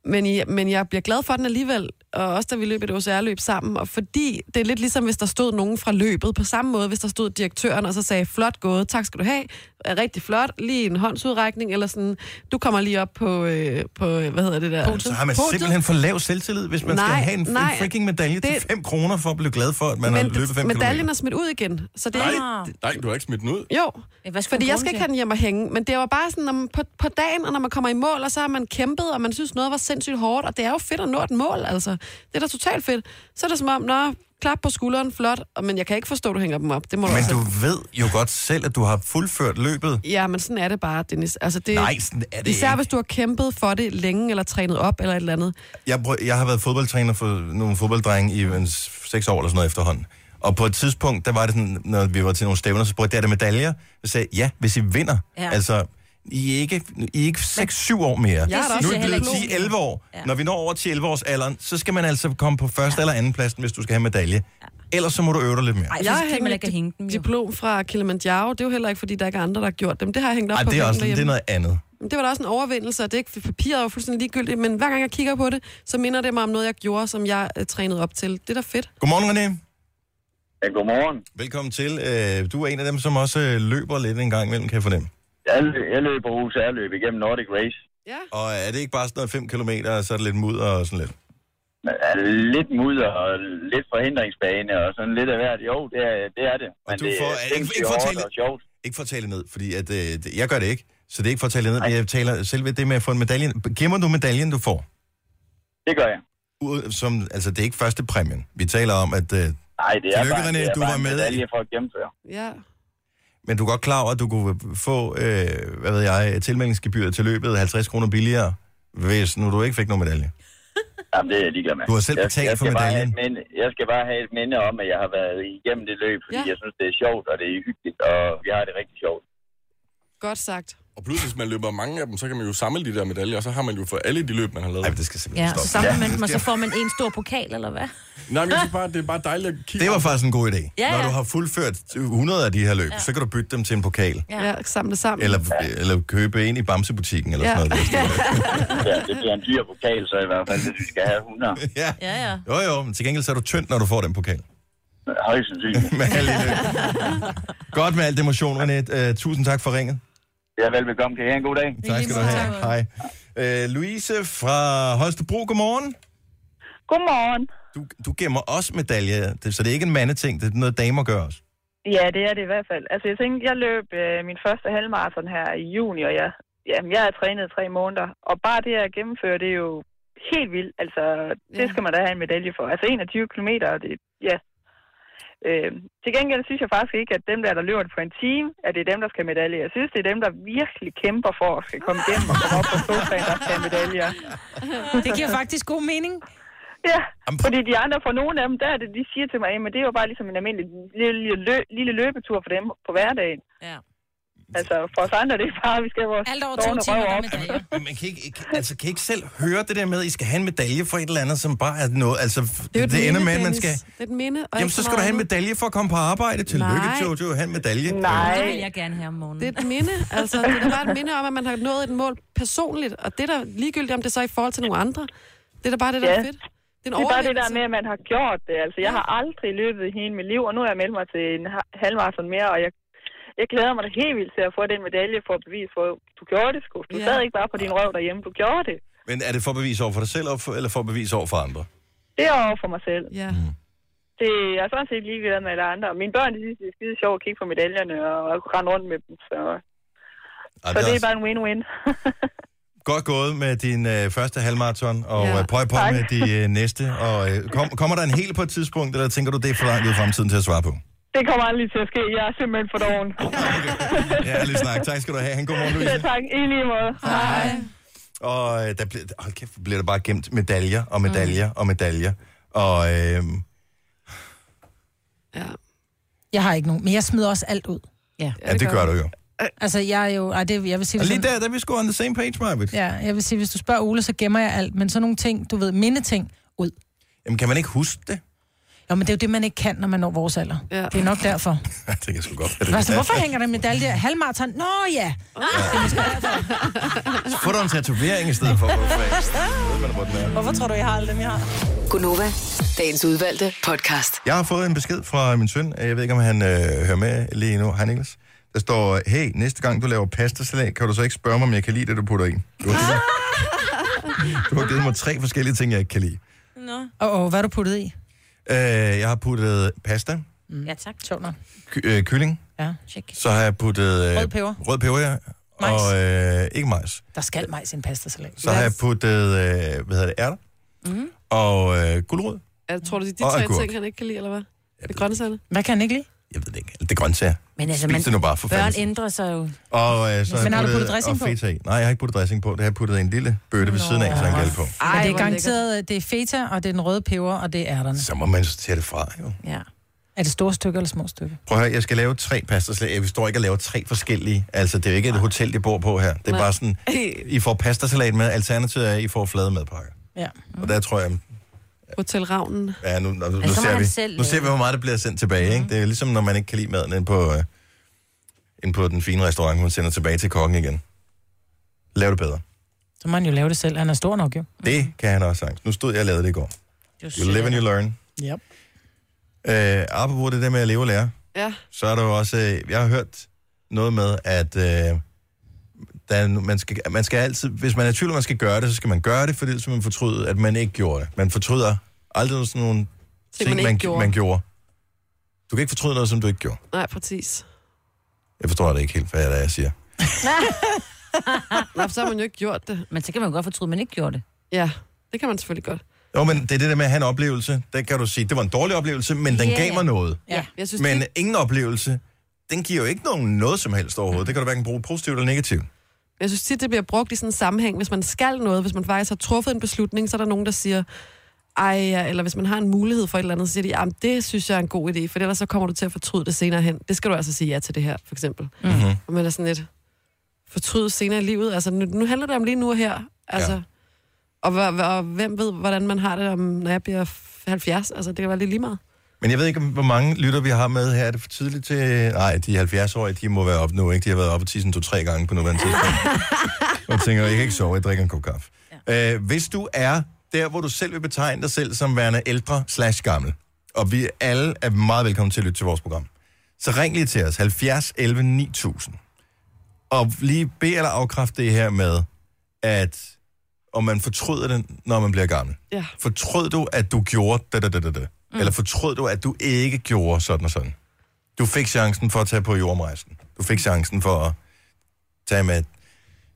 [SPEAKER 3] men, i- men jeg bliver glad for den alligevel. Og også da vi løb et OCR-løb sammen. Og fordi det er lidt ligesom, hvis der stod nogen fra løbet. På samme måde, hvis der stod direktøren og så sagde, flot gået, tak skal du have. Er rigtig flot. Lige en håndsudrækning. Eller sådan, du kommer lige op på, øh, på øh, hvad hedder det der?
[SPEAKER 1] Så har man
[SPEAKER 3] Podiet.
[SPEAKER 1] simpelthen for lav selvtillid, hvis man nej,
[SPEAKER 3] Nej,
[SPEAKER 1] skal have en, nej,
[SPEAKER 3] nej.
[SPEAKER 1] en freaking medalje det... til
[SPEAKER 3] Det-
[SPEAKER 1] 5 kroner for at blive glad for, at man har løbet 5
[SPEAKER 3] Men medaljen
[SPEAKER 1] km.
[SPEAKER 3] er smidt ud igen. Så det er
[SPEAKER 1] Ah.
[SPEAKER 15] Nej,
[SPEAKER 3] ikke,
[SPEAKER 15] nej, du har ikke smidt den ud.
[SPEAKER 3] jo,
[SPEAKER 4] Hvad
[SPEAKER 3] fordi jeg skal ikke have den hjem og hænge, men det var bare sådan, når man på, på dagen, og når man kommer i mål, og så har man kæmpet, og man synes, noget var sindssygt hårdt, og det er jo fedt at nå et mål, altså. Det er da totalt fedt. Så er det som om, nå, klap på skulderen, flot, og, men jeg kan ikke forstå, at du hænger dem op. Det må
[SPEAKER 1] Men
[SPEAKER 3] altså.
[SPEAKER 1] du ved jo godt selv, at du har fuldført løbet.
[SPEAKER 3] Ja, men sådan er det bare, Dennis. Altså, det,
[SPEAKER 1] Nej, sådan er det
[SPEAKER 3] Især
[SPEAKER 1] ikke.
[SPEAKER 3] hvis du har kæmpet for det længe, eller trænet op, eller et eller andet.
[SPEAKER 1] jeg, prøv, jeg har været fodboldtræner for nogle fodbolddrenge i en s- seks år eller sådan noget efterhånden. Og på et tidspunkt, der var det sådan, når vi var til nogle stævner, så spurgte jeg, er der medaljer? Jeg sagde, ja, hvis I vinder.
[SPEAKER 12] Ja.
[SPEAKER 1] Ja. Altså, I er ikke, I er ikke 6-7 år mere.
[SPEAKER 12] Jeg er da også
[SPEAKER 1] nu er det
[SPEAKER 12] heller
[SPEAKER 1] blevet
[SPEAKER 12] ikke
[SPEAKER 1] 10-11 år. Ja. Når vi når over 10-11 års alderen, så skal man altså komme på første ja. eller anden pladsen, hvis du skal have medalje. Ellers så må du øve dig lidt mere.
[SPEAKER 3] jeg har
[SPEAKER 4] kan Altså, man
[SPEAKER 3] hængt
[SPEAKER 4] ikke
[SPEAKER 3] et
[SPEAKER 4] hænge dem, jo.
[SPEAKER 3] diplom fra Kilimanjaro. Det er jo heller ikke, fordi der ikke er andre, der har gjort dem. Det har jeg hængt op
[SPEAKER 1] Ej,
[SPEAKER 3] på
[SPEAKER 1] det er
[SPEAKER 3] væggen
[SPEAKER 1] også det
[SPEAKER 3] derhjemme.
[SPEAKER 1] er noget andet.
[SPEAKER 3] Men Det var da også en overvindelse, og det er ikke, papiret er jo fuldstændig ligegyldigt, men hver gang jeg kigger på det, så minder det mig om noget, jeg gjorde, som jeg øh, trænede op til. Det er da fedt.
[SPEAKER 1] Godmorgen, René.
[SPEAKER 16] Ja, godmorgen.
[SPEAKER 1] Velkommen til. Øh, Du er en af dem, som også øh, løber lidt en gang imellem, kan jeg fornemme.
[SPEAKER 16] Jeg, lø- jeg løber hos jeg løb igennem Nordic Race.
[SPEAKER 3] Ja.
[SPEAKER 1] Og er det ikke bare sådan noget 5 km, og så er det lidt mudder og sådan lidt?
[SPEAKER 16] Men, øh, Lidt mudder og lidt forhindringsbane og sådan lidt af hvert. Jo, det er det. Er det. Men
[SPEAKER 1] Og du
[SPEAKER 16] det
[SPEAKER 1] får,
[SPEAKER 16] er
[SPEAKER 1] ikke,
[SPEAKER 16] sindssygt
[SPEAKER 1] ikke, for
[SPEAKER 16] hårdt
[SPEAKER 1] tale,
[SPEAKER 16] og sjovt.
[SPEAKER 1] ikke for at tale ned, fordi at, øh, det- jeg gør det ikke, så det er ikke for at tale ned, men jeg taler selve det med at få en medalje. Gemmer du medaljen, du får?
[SPEAKER 16] Det gør jeg.
[SPEAKER 1] Ud, som, altså, det er ikke første præmien. Vi taler om, at... Øh,
[SPEAKER 16] Nej, det er
[SPEAKER 1] Tillykke,
[SPEAKER 16] bare,
[SPEAKER 1] René,
[SPEAKER 16] det er
[SPEAKER 1] du
[SPEAKER 16] bare
[SPEAKER 1] var
[SPEAKER 16] en
[SPEAKER 1] med i-
[SPEAKER 16] medalje for at gennemføre.
[SPEAKER 3] Ja.
[SPEAKER 1] men du er godt klar over, at du kunne få, øh, hvad ved jeg, tilmeldingsgebyret til løbet 50 kroner billigere, hvis nu du ikke fik nogen medalje.
[SPEAKER 16] Jamen, det er jeg ligeglad med.
[SPEAKER 1] Du har selv
[SPEAKER 16] Jeg-
[SPEAKER 1] betalt
[SPEAKER 16] jeg
[SPEAKER 1] for
[SPEAKER 16] skal bare have
[SPEAKER 1] medaljen.
[SPEAKER 16] et minde- Jeg skal bare have et minde om, at jeg har været igennem det løb, fordi
[SPEAKER 3] Ja.
[SPEAKER 16] jeg synes, det er sjovt, og det er hyggeligt, og vi har det rigtig sjovt.
[SPEAKER 3] Godt sagt.
[SPEAKER 15] Og pludselig, hvis man løber mange af dem, så kan man jo samle de der medaljer, og så har man jo for alle de løb, man har lavet. Nej,
[SPEAKER 1] det skal simpelthen
[SPEAKER 4] Ja, så samler man dem, og så får man en stor pokal, eller hvad?
[SPEAKER 15] Nej, men jeg synes bare, det er bare dejligt at kigge.
[SPEAKER 1] Det var faktisk en god idé.
[SPEAKER 4] Ja,
[SPEAKER 1] Når
[SPEAKER 4] ja.
[SPEAKER 1] du har fuldført 100 af de her løb, ja. så kan du bytte dem til en pokal.
[SPEAKER 3] Ja, ja samle sammen.
[SPEAKER 1] Eller, eller købe en i Bamsebutikken, eller sådan noget.
[SPEAKER 16] Ja, det bliver en dyr pokal, så i hvert fald, hvis vi skal have 100.
[SPEAKER 1] Ja.
[SPEAKER 4] Ja, ja.
[SPEAKER 1] Jo, jo, men til gengæld så er du tynd, når du får den pokal.
[SPEAKER 16] Højst sandsynligt.
[SPEAKER 1] med alle de løb. Godt med al det motion, René. Uh, tusind tak for ringet.
[SPEAKER 16] Ja, velbekomme. Kan I have en god dag?
[SPEAKER 1] Tak skal du have. Hej. Uh, Louise fra Holstebro, godmorgen.
[SPEAKER 13] Godmorgen.
[SPEAKER 1] Du, du gemmer også medaljer, det, så det er ikke en mandeting, det er noget damer gør også.
[SPEAKER 13] Ja, det er det i hvert fald. Altså, jeg tænkte, jeg løb øh, min første halvmarathon her i juni, og jeg, jamen, jeg har trænet i tre måneder. Og bare det at gennemføre, det er jo helt vildt. Altså, det skal man da have en medalje for. Altså, 21 kilometer, og det, ja. Øh, til gengæld synes jeg faktisk ikke, at dem der, der løber det på en time, at det er dem, der skal have medalje. Jeg synes, det er dem, der virkelig kæmper for at skal komme igennem og komme op på sofaen, der skal have medaljer.
[SPEAKER 2] Det giver faktisk god mening.
[SPEAKER 13] Ja, fordi de andre, for nogle af dem, der er det, de siger til mig, at det er jo bare ligesom en almindelig lille, lø, lille løbetur for dem på hverdagen.
[SPEAKER 4] Ja.
[SPEAKER 13] Altså, for os andre, det er bare, vi skal have vores Alt over
[SPEAKER 1] Men man kan ikke, ikke, altså, kan ikke selv høre det der med, at I skal have en medalje for et eller andet, som bare er noget... Altså, det,
[SPEAKER 3] jo
[SPEAKER 1] det,
[SPEAKER 3] et
[SPEAKER 1] det ender
[SPEAKER 3] minde,
[SPEAKER 1] med, at man skal...
[SPEAKER 3] Dennis. Det er et minde. Og
[SPEAKER 1] Jamen,
[SPEAKER 3] ikke så
[SPEAKER 1] så skal du
[SPEAKER 3] meget
[SPEAKER 1] have en
[SPEAKER 3] andet.
[SPEAKER 1] medalje for at komme på arbejde. Tillykke,
[SPEAKER 3] Nej.
[SPEAKER 1] Jojo. Have en medalje.
[SPEAKER 4] Det vil jeg gerne have om morgenen.
[SPEAKER 3] Det er et minde. Altså, det er da bare et minde om, at man har nået et mål personligt, og det er da ligegyldigt, om det så er i forhold til nogle andre. Det er da bare det, der er
[SPEAKER 13] Ja.
[SPEAKER 3] fedt.
[SPEAKER 13] Det
[SPEAKER 3] en
[SPEAKER 13] er bare det der
[SPEAKER 3] overlevelse.
[SPEAKER 13] med, at man har gjort det. Altså, jeg har aldrig løbet i hele mit liv, og nu har jeg meldt mig til en ha- halvmarathon mere, og jeg, jeg glæder mig da helt vildt til at få den medalje for at bevise, for du gjorde det, sgu. Du
[SPEAKER 3] Ja.
[SPEAKER 13] sad ikke bare på din røv derhjemme, du gjorde det.
[SPEAKER 1] Men er det for bevis over for dig selv, og for- eller for bevis over for andre?
[SPEAKER 13] Det er over for mig selv.
[SPEAKER 3] Ja.
[SPEAKER 1] Mm.
[SPEAKER 13] Det jeg er sådan set ligeglad med alle andre. Mine børn, de synes, det er skide sjovt at kigge på medaljerne og rende rundt med dem. Så,
[SPEAKER 1] Ej,
[SPEAKER 13] så det
[SPEAKER 1] også-
[SPEAKER 13] er bare en win-win.
[SPEAKER 1] altså Godt gået med din øh, første halvmarathon, og ja. øh, prøv på med de øh, næste. Og, øh, kom, kommer der en hel på et tidspunkt, eller tænker du, det er for langt ud i fremtiden til at svare på?
[SPEAKER 13] Det kommer aldrig til at ske. Jeg er simpelthen for doven.
[SPEAKER 1] Ja, lige snak. Tak skal du have. Han god morgen,
[SPEAKER 13] Selv
[SPEAKER 1] Louise.
[SPEAKER 13] tak. I lige måde. Hej.
[SPEAKER 1] Og øh, der bliver, hold kæft, hvor bliver der bare gemt medaljer og medaljer mm. og medaljer. Og øh,
[SPEAKER 3] Ja.
[SPEAKER 2] Jeg har ikke nogen, men jeg smider også alt ud. Ja,
[SPEAKER 1] Ja, det gør du jo.
[SPEAKER 2] Altså, jeg er jo... Ej, det, jeg vil sige,
[SPEAKER 1] Og
[SPEAKER 2] hvis
[SPEAKER 1] lige
[SPEAKER 2] man-
[SPEAKER 1] der, der er vi sgu on the same page, Marvitt.
[SPEAKER 2] Altså- Ja, jeg vil sige, hvis du spørger Ole, så gemmer jeg alt. Men sådan nogle ting, du ved, mindeting, ud.
[SPEAKER 1] Jamen, kan man ikke huske det?
[SPEAKER 2] Jo, men det er jo det, man ikke kan, når man når vores alder. Ja. Det er nok derfor.
[SPEAKER 1] Ja, det kan jeg sgu godt.
[SPEAKER 2] Altså, hvorfor hænger der en medalje der? Halvmarathon? Nå ja!
[SPEAKER 1] Få dig en tatovering i stedet for. Hvorfor?
[SPEAKER 2] Hvorfor tror du, jeg har alle dem, jeg har?
[SPEAKER 7] Gunova, dagens udvalgte podcast.
[SPEAKER 1] Jeg har fået en besked fra min søn. Jeg ved ikke, om han øh, hører med lige nu. Hej, Niklas. Der står, hey, næste gang du laver pastasalat, kan du så ikke spørge mig, om jeg kan lide det, du putter i? Du har givet, du har givet mig tre forskellige ting, jeg ikke kan lide.
[SPEAKER 2] Nå. Åh, oh, hvad har du puttet i?
[SPEAKER 1] Øh, jeg har puttet pasta,
[SPEAKER 2] Mm. Ja, tak. Sjovt nok.
[SPEAKER 1] ky- øh, kylling,
[SPEAKER 2] Ja, tjek.
[SPEAKER 1] så har jeg puttet... Øh,
[SPEAKER 2] Rød peber.
[SPEAKER 1] Rød peber, ja.
[SPEAKER 2] Majs.
[SPEAKER 1] Og øh, ikke majs.
[SPEAKER 2] Der skal majs i en pastasalat.
[SPEAKER 1] Så har jeg puttet, øh, hvad hedder det, ærter
[SPEAKER 4] Mhm.
[SPEAKER 3] Mm.
[SPEAKER 1] og øh, gulerod.
[SPEAKER 3] Jeg tror du, det er de
[SPEAKER 1] Og
[SPEAKER 3] tre
[SPEAKER 1] agurk.
[SPEAKER 3] ting, han ikke kan lide, eller hvad? Det er grøntsagerne.
[SPEAKER 2] Hvad kan han ikke lide?
[SPEAKER 1] Det er grøntsager.
[SPEAKER 4] Men altså,
[SPEAKER 1] Spis
[SPEAKER 4] man,
[SPEAKER 1] det nu bare for
[SPEAKER 4] børn
[SPEAKER 1] fanden.
[SPEAKER 4] ændrer sig jo.
[SPEAKER 1] Og øh, så
[SPEAKER 4] Men har
[SPEAKER 1] jeg
[SPEAKER 4] du puttet dressing
[SPEAKER 1] og
[SPEAKER 4] på?
[SPEAKER 1] feta i. Nej, jeg har ikke puttet dressing på. Det har jeg puttet i en lille bøtte ved siden af, så han kan hælde på.
[SPEAKER 2] Ej, men det
[SPEAKER 4] hvor
[SPEAKER 2] er garanteret, øh, det er feta, og det er den røde peber, og det er ærterne.
[SPEAKER 1] Så må man så tage det fra, jo.
[SPEAKER 2] Ja. Er det store stykker eller små stykker?
[SPEAKER 1] Prøv at høre, jeg skal lave tre pastasalat. Jeg står ikke og laver tre forskellige. Altså, det er jo ikke et hotel, de bor på her. Det er
[SPEAKER 2] Nej.
[SPEAKER 1] bare sådan, I får pastasalat med. Alternativet er, at I får flade madpakker.
[SPEAKER 2] Ja.
[SPEAKER 1] Og der tror jeg,
[SPEAKER 3] Hotel Ravnen.
[SPEAKER 1] ja, nu, nu, nu,
[SPEAKER 3] så må
[SPEAKER 1] ser,
[SPEAKER 3] han
[SPEAKER 1] vi,
[SPEAKER 3] selv
[SPEAKER 1] nu ser vi,
[SPEAKER 3] lave.
[SPEAKER 1] hvor meget det bliver sendt tilbage. Ikke? Det er ligesom, når man ikke kan lide maden inde på, øh, inde på den fine restaurant, hun sender tilbage til kokken igen. Lav det bedre.
[SPEAKER 2] Så må han jo lave det selv. Han er stor nok jo.
[SPEAKER 1] Det kan han også sagtens. Nu stod jeg og lavede det i går. You live and you learn.
[SPEAKER 2] Ja.
[SPEAKER 1] Øh, apropos det der med at leve og lære,
[SPEAKER 3] Ja.
[SPEAKER 1] så er der jo også, øh, jeg har hørt noget med, at øh, der, er no- man, skal, man skal altid, hvis man er i tvivl, om man skal gøre det, så skal man gøre det, fordi så man fortryder, at man ikke gjorde det. Man fortryder aldrig sådan nogle
[SPEAKER 3] Ting,
[SPEAKER 1] ting,
[SPEAKER 3] man
[SPEAKER 1] man,
[SPEAKER 3] ikke gjorde.
[SPEAKER 1] man, gjorde. man gjorde. Du kan ikke fortryde noget, som du ikke gjorde.
[SPEAKER 3] Nej, præcis.
[SPEAKER 1] Jeg forstår det ikke helt, hvad det er, jeg siger.
[SPEAKER 3] Nå, for så har man jo ikke gjort det.
[SPEAKER 4] Men så kan man godt fortryde, at man ikke gjorde det.
[SPEAKER 3] Ja, det kan man selvfølgelig godt.
[SPEAKER 1] Jo, men det er det der med at have en oplevelse. Der kan du sige, det var en dårlig oplevelse, men den
[SPEAKER 3] Ja,
[SPEAKER 1] gav
[SPEAKER 3] ja.
[SPEAKER 1] mig noget.
[SPEAKER 3] Ja. Jeg synes,
[SPEAKER 1] Men
[SPEAKER 3] det-
[SPEAKER 1] ingen oplevelse, den giver jo ikke nogen noget som helst overhovedet. Det kan du hverken bruge positivt eller negativt.
[SPEAKER 3] Jeg synes tit, det bliver brugt i sådan en sammenhæng. Hvis man skal noget, hvis man faktisk har truffet en beslutning, så er der nogen, der siger, ej, ja," eller hvis man har en mulighed for et eller andet, så siger de, jamen det synes jeg er en god idé, for ellers så kommer du til at fortryde det senere hen. Det skal du altså sige ja til det her, for eksempel.
[SPEAKER 1] Mm-hmm.
[SPEAKER 3] Og man er sådan lidt fortryde senere i livet. Altså, nu, nu handler det om lige nu og her. Altså, ja. og, og, og, hvem ved, hvordan man har det, om, når jeg bliver f- 70? Altså, det kan være lidt lige meget.
[SPEAKER 1] Men jeg ved ikke, hvor mange lytter vi har med her. Er det for tidligt til... Nej, de 70-årige, de må være oppe nu, ikke? De har været oppe til sådan to-tre gange på nuværende tidspunkt. og jeg tænker, jeg kan ikke sove, jeg drikker en kop kaffe. Ja. Øh, hvis du er der, hvor du selv vil betegne dig selv som værende ældre slash gammel, og vi alle er meget velkommen til at lytte til vores program, så ring lige til os, 70 11 9000. Og lige bed eller afkræft det her med, at om man fortryder det, når man bliver gammel.
[SPEAKER 3] Ja.
[SPEAKER 1] Fortrød du, at du gjorde da, da, da, da, da? Mm. Eller fortrød du, at du ikke gjorde sådan og sådan? Du fik chancen for at tage på jordomrejsen. Du fik chancen for at tage med...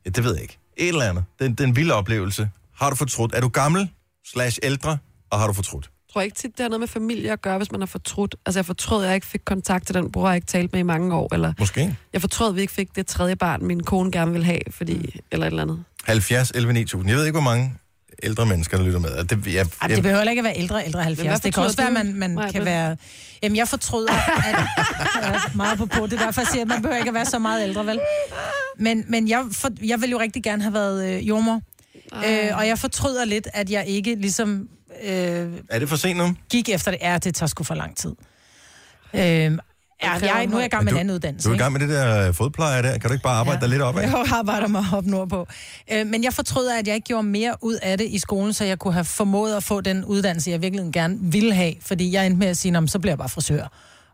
[SPEAKER 1] Ja, det ved jeg ikke. Et eller andet. Den, den vilde oplevelse. Har du fortrudt? Er du gammel slash ældre, og har du fortrudt?
[SPEAKER 3] Jeg tror ikke tit, det har noget med familie at gøre, hvis man har fortrudt. Altså, jeg fortrød, at jeg ikke fik kontakt til den bror, jeg ikke talte med i mange år. Eller
[SPEAKER 1] Måske.
[SPEAKER 3] jeg fortrød, at vi ikke fik det tredje barn, min kone gerne ville have,
[SPEAKER 2] Mm.
[SPEAKER 3] fordi, eller et eller andet.
[SPEAKER 1] 70, 11, 9000. Jeg ved ikke, hvor mange ældre mennesker, der lytter med. Og Det, jeg, jeg,
[SPEAKER 2] Ej, det behøver heller ikke at være ældre, ældre 70. Det kan
[SPEAKER 3] fortryder
[SPEAKER 2] også være, at
[SPEAKER 3] du?
[SPEAKER 2] man, man
[SPEAKER 3] Nej,
[SPEAKER 2] kan
[SPEAKER 3] hvad?
[SPEAKER 2] være... Jamen, jeg fortryder, at jeg er meget på på. Det er derfor, jeg siger, at man behøver ikke at være så meget ældre, vel? Men, men jeg, for, jeg vil jo rigtig gerne have været øh, jordmor. Øh, og jeg fortryder lidt, at jeg ikke ligesom øh,
[SPEAKER 1] er det for sent nu?
[SPEAKER 2] gik efter det. Ja, det tager sgu for lang tid. Øh, ja, jeg, nu er jeg i gang
[SPEAKER 1] Men
[SPEAKER 2] med en
[SPEAKER 1] du-
[SPEAKER 2] anden uddannelse.
[SPEAKER 1] Du er i
[SPEAKER 2] ikke?
[SPEAKER 1] gang med det der øh, fodpleje der. Kan du ikke bare arbejde ja. dig lidt op af?
[SPEAKER 2] Jeg arbejder mig op nordpå. Øh, men jeg fortryder, at jeg ikke gjorde mere ud af det i skolen, så jeg kunne have formået at få den uddannelse, jeg virkelig gerne ville have. Fordi jeg endte med at sige, "Nå, men så bliver jeg bare frisør.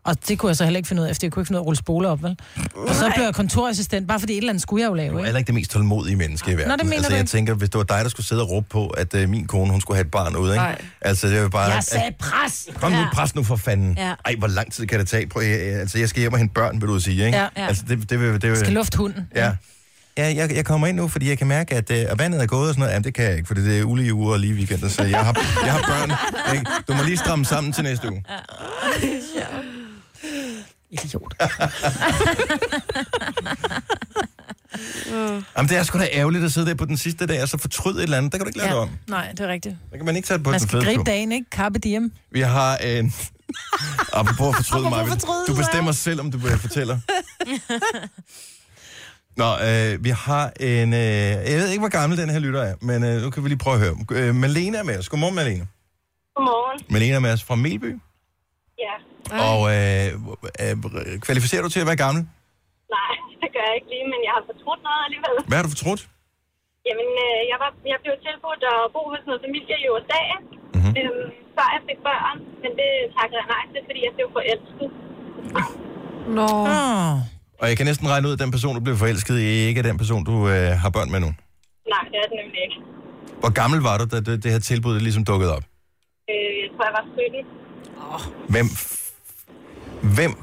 [SPEAKER 2] Og det kunne jeg så heller ikke finde ud af, efter jeg kunne ikke finde ud af at rulle spoler op, vel? Og så blev jeg kontorassistent, bare fordi et eller andet skulle jeg jo lave,
[SPEAKER 1] Du er
[SPEAKER 2] ikke?
[SPEAKER 1] heller ikke det mest tålmodige menneske i verden.
[SPEAKER 2] det mener
[SPEAKER 1] altså,
[SPEAKER 2] du
[SPEAKER 1] jeg
[SPEAKER 2] ikke.
[SPEAKER 1] tænker, hvis det var dig, der skulle sidde og råbe på, at øh, min kone, hun skulle have et barn ude, ikke?
[SPEAKER 2] Nej.
[SPEAKER 1] Altså, det var bare...
[SPEAKER 2] Jeg sagde pres!
[SPEAKER 1] Kom nu, pres nu for fanden.
[SPEAKER 2] Ja.
[SPEAKER 1] Ja. Ej, hvor lang tid kan det tage? Prøv, jeg, altså, jeg skal hjem og hente børn, vil du sige, ikke?
[SPEAKER 2] Ja, ja.
[SPEAKER 1] Altså, det, det, vil, det vil...
[SPEAKER 2] Skal lufte hunden.
[SPEAKER 1] Ja. Ja, jeg, jeg kommer ind nu, fordi jeg kan mærke, at øh, og vandet er gået og sådan noget. Jamen, det kan jeg ikke, for det er ulige uger og lige weekender, så jeg har, jeg har børn. Ikke? Du må lige stramme sammen til næste uge.
[SPEAKER 2] Idiot.
[SPEAKER 1] Jamen, det er sgu da ærgerligt at sidde der på den sidste dag, og så fortryde et eller andet. Der kan du ikke lade ja. det om.
[SPEAKER 2] Nej, det er rigtigt.
[SPEAKER 1] Der kan man ikke tage det på
[SPEAKER 2] Man
[SPEAKER 1] den
[SPEAKER 2] skal
[SPEAKER 1] fede
[SPEAKER 2] gribe
[SPEAKER 1] klub.
[SPEAKER 2] dagen, ikke? Carpe diem.
[SPEAKER 1] Vi har en, Apropos at fortryde mig.
[SPEAKER 12] Apropos fortryde,
[SPEAKER 1] Du
[SPEAKER 12] ja.
[SPEAKER 1] bestemmer selv, om du øh, fortæller. Nå, øh, vi har en... Øh, jeg ved ikke, hvor gammel den her lytter er, men øh, nu kan vi lige prøve at høre. Øh, Malene er med os. Godmorgen, Malene.
[SPEAKER 17] Godmorgen.
[SPEAKER 1] Malene er med os fra Melby.
[SPEAKER 17] Ja.
[SPEAKER 1] Og øh, øh, kvalificerer du til at være gammel?
[SPEAKER 17] Nej, det gør jeg ikke lige, men jeg har fortrudt noget alligevel.
[SPEAKER 1] Hvad har du fortrudt?
[SPEAKER 17] Jamen, øh, jeg, var, jeg blev tilbudt at bo hos noget familie i USA, mm-hmm. øhm, før jeg fik børn. Men det takkede jeg nej til, fordi jeg blev forelsket.
[SPEAKER 3] Nå.
[SPEAKER 2] Oh.
[SPEAKER 1] Og jeg kan næsten regne ud, at den person, du blev forelsket i, ikke er den person, du øh, har børn med nu.
[SPEAKER 17] Nej, det er det nemlig ikke.
[SPEAKER 1] Hvor gammel var du, da det, det her tilbud ligesom dukkede op?
[SPEAKER 17] Øh, jeg tror, jeg var 17. Oh.
[SPEAKER 1] Hvem, f- hvem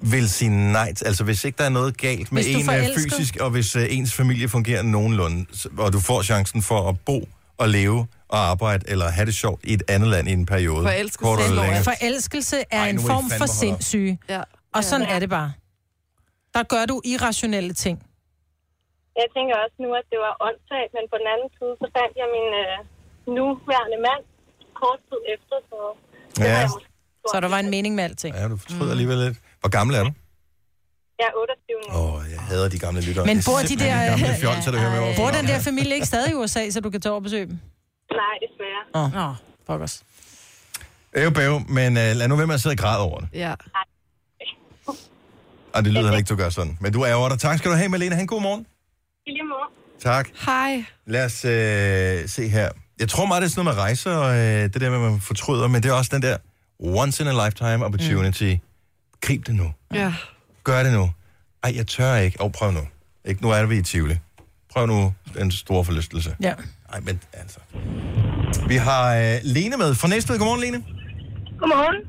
[SPEAKER 1] vil sige nej? til- Altså, hvis ikke der er noget galt med
[SPEAKER 17] Hvis du
[SPEAKER 1] en
[SPEAKER 17] er
[SPEAKER 1] øh,
[SPEAKER 17] forelsket.
[SPEAKER 1] fysisk, og hvis øh, ens familie fungerer nogenlunde, s- og du får chancen for at bo og leve og arbejde, eller have det sjovt i et andet land i en periode. kortere eller længere.
[SPEAKER 2] Forelskelse er
[SPEAKER 1] Ej,
[SPEAKER 2] Ej,
[SPEAKER 1] nu
[SPEAKER 2] en
[SPEAKER 1] må I
[SPEAKER 2] form
[SPEAKER 1] fandme
[SPEAKER 2] for
[SPEAKER 1] holde op.
[SPEAKER 2] sindssyge.
[SPEAKER 3] Ja.
[SPEAKER 2] Og sådan
[SPEAKER 17] Ja.
[SPEAKER 2] er det bare. Der gør du irrationelle ting.
[SPEAKER 17] Jeg tænker også nu, at det var åndssvagt, men på den anden side, så fandt jeg min øh, nuværende mand kort tid efter. Så
[SPEAKER 1] Ja,
[SPEAKER 2] Så der var en mening med alting.
[SPEAKER 1] ja, du
[SPEAKER 2] Mm.
[SPEAKER 1] fortryder alligevel lidt. Hvor gammel er du?
[SPEAKER 17] jeg er 28 nu.
[SPEAKER 1] Åh, oh, jeg hader de gamle lyttere.
[SPEAKER 2] Men
[SPEAKER 1] Det er
[SPEAKER 2] bor de
[SPEAKER 1] simpelthen
[SPEAKER 2] der-
[SPEAKER 1] gamle fjolser, der hører med over
[SPEAKER 2] Bor
[SPEAKER 1] for
[SPEAKER 2] den
[SPEAKER 1] mig.
[SPEAKER 2] der familie ikke stadig i USA, så du kan tage over og besøge dem?
[SPEAKER 17] Nej, desværre.
[SPEAKER 2] Åh, oh. pokkers.
[SPEAKER 1] Øv, bæv, men uh, lad nu være med at sidde og græde over det.
[SPEAKER 3] Ja.
[SPEAKER 1] Og det lyder heller ikke, du gør sådan. Men du er over dig. Tak skal du have, Malene. Han god morgen.
[SPEAKER 17] I lige måde.
[SPEAKER 1] Tak.
[SPEAKER 3] Hej.
[SPEAKER 1] Lad os øh, se her. Jeg tror meget, det er sådan noget med rejser, og øh, det der med, at man fortryder, men det er også den der once in a lifetime opportunity. Mm. Grib det nu.
[SPEAKER 3] Ja.
[SPEAKER 1] Gør det nu. Ej, jeg tør ikke. Åh, oh, prøv nu. Ikke? Nu er vi i Tivoli. Prøv nu den store forlystelse.
[SPEAKER 2] Ja.
[SPEAKER 1] Ej, men altså. Vi har øh, Lene med fra Næstved. Godmorgen, Lene.
[SPEAKER 17] Godmorgen.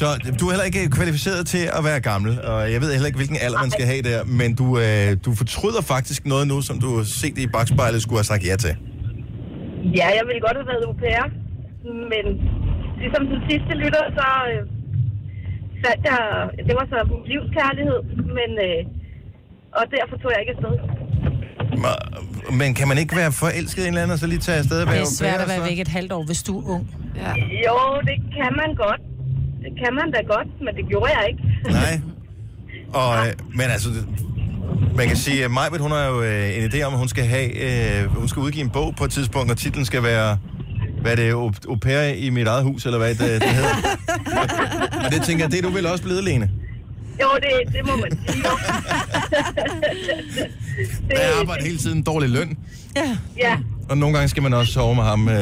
[SPEAKER 1] Så øh, du er heller ikke kvalificeret til at være gammel, og jeg ved heller ikke, hvilken alder man skal have der, men du, øh, du fortryder faktisk noget nu, som du har set i bagspejlet skulle have sagt ja til.
[SPEAKER 17] Ja, jeg ville godt have været au pair, men ligesom den sidste lytter, så øh, fandt jeg, det var så min livskærlighed, men, øh, og derfor tog jeg ikke afsted.
[SPEAKER 1] Men kan man ikke være forelsket i en eller anden, og så lige tage afsted og
[SPEAKER 2] Det
[SPEAKER 1] være
[SPEAKER 2] er
[SPEAKER 1] au pair,
[SPEAKER 2] svært at
[SPEAKER 1] og så-
[SPEAKER 2] være væk et halvt år, hvis du er ung.
[SPEAKER 3] Ja.
[SPEAKER 17] Jo, det kan man godt. Det kan man da godt, men det gjorde jeg ikke.
[SPEAKER 1] Nej. Og, øh, men altså, det- man kan sige, at Majbet, hun har jo øh, en idé om, at hun skal, have, øh, hun skal udgive en bog på et tidspunkt, og titlen skal være, hvad er det, au- au pair i mit eget hus, eller hvad det, det hedder. og det tænker jeg, det er du vel også blevet, Lene.
[SPEAKER 17] Jo, det, det må man sige. jo.
[SPEAKER 1] Der er arbejde hele tiden, dårlig løn,
[SPEAKER 2] Ja.
[SPEAKER 17] Ja.
[SPEAKER 1] og nogle gange skal man også sove med ham, øh, der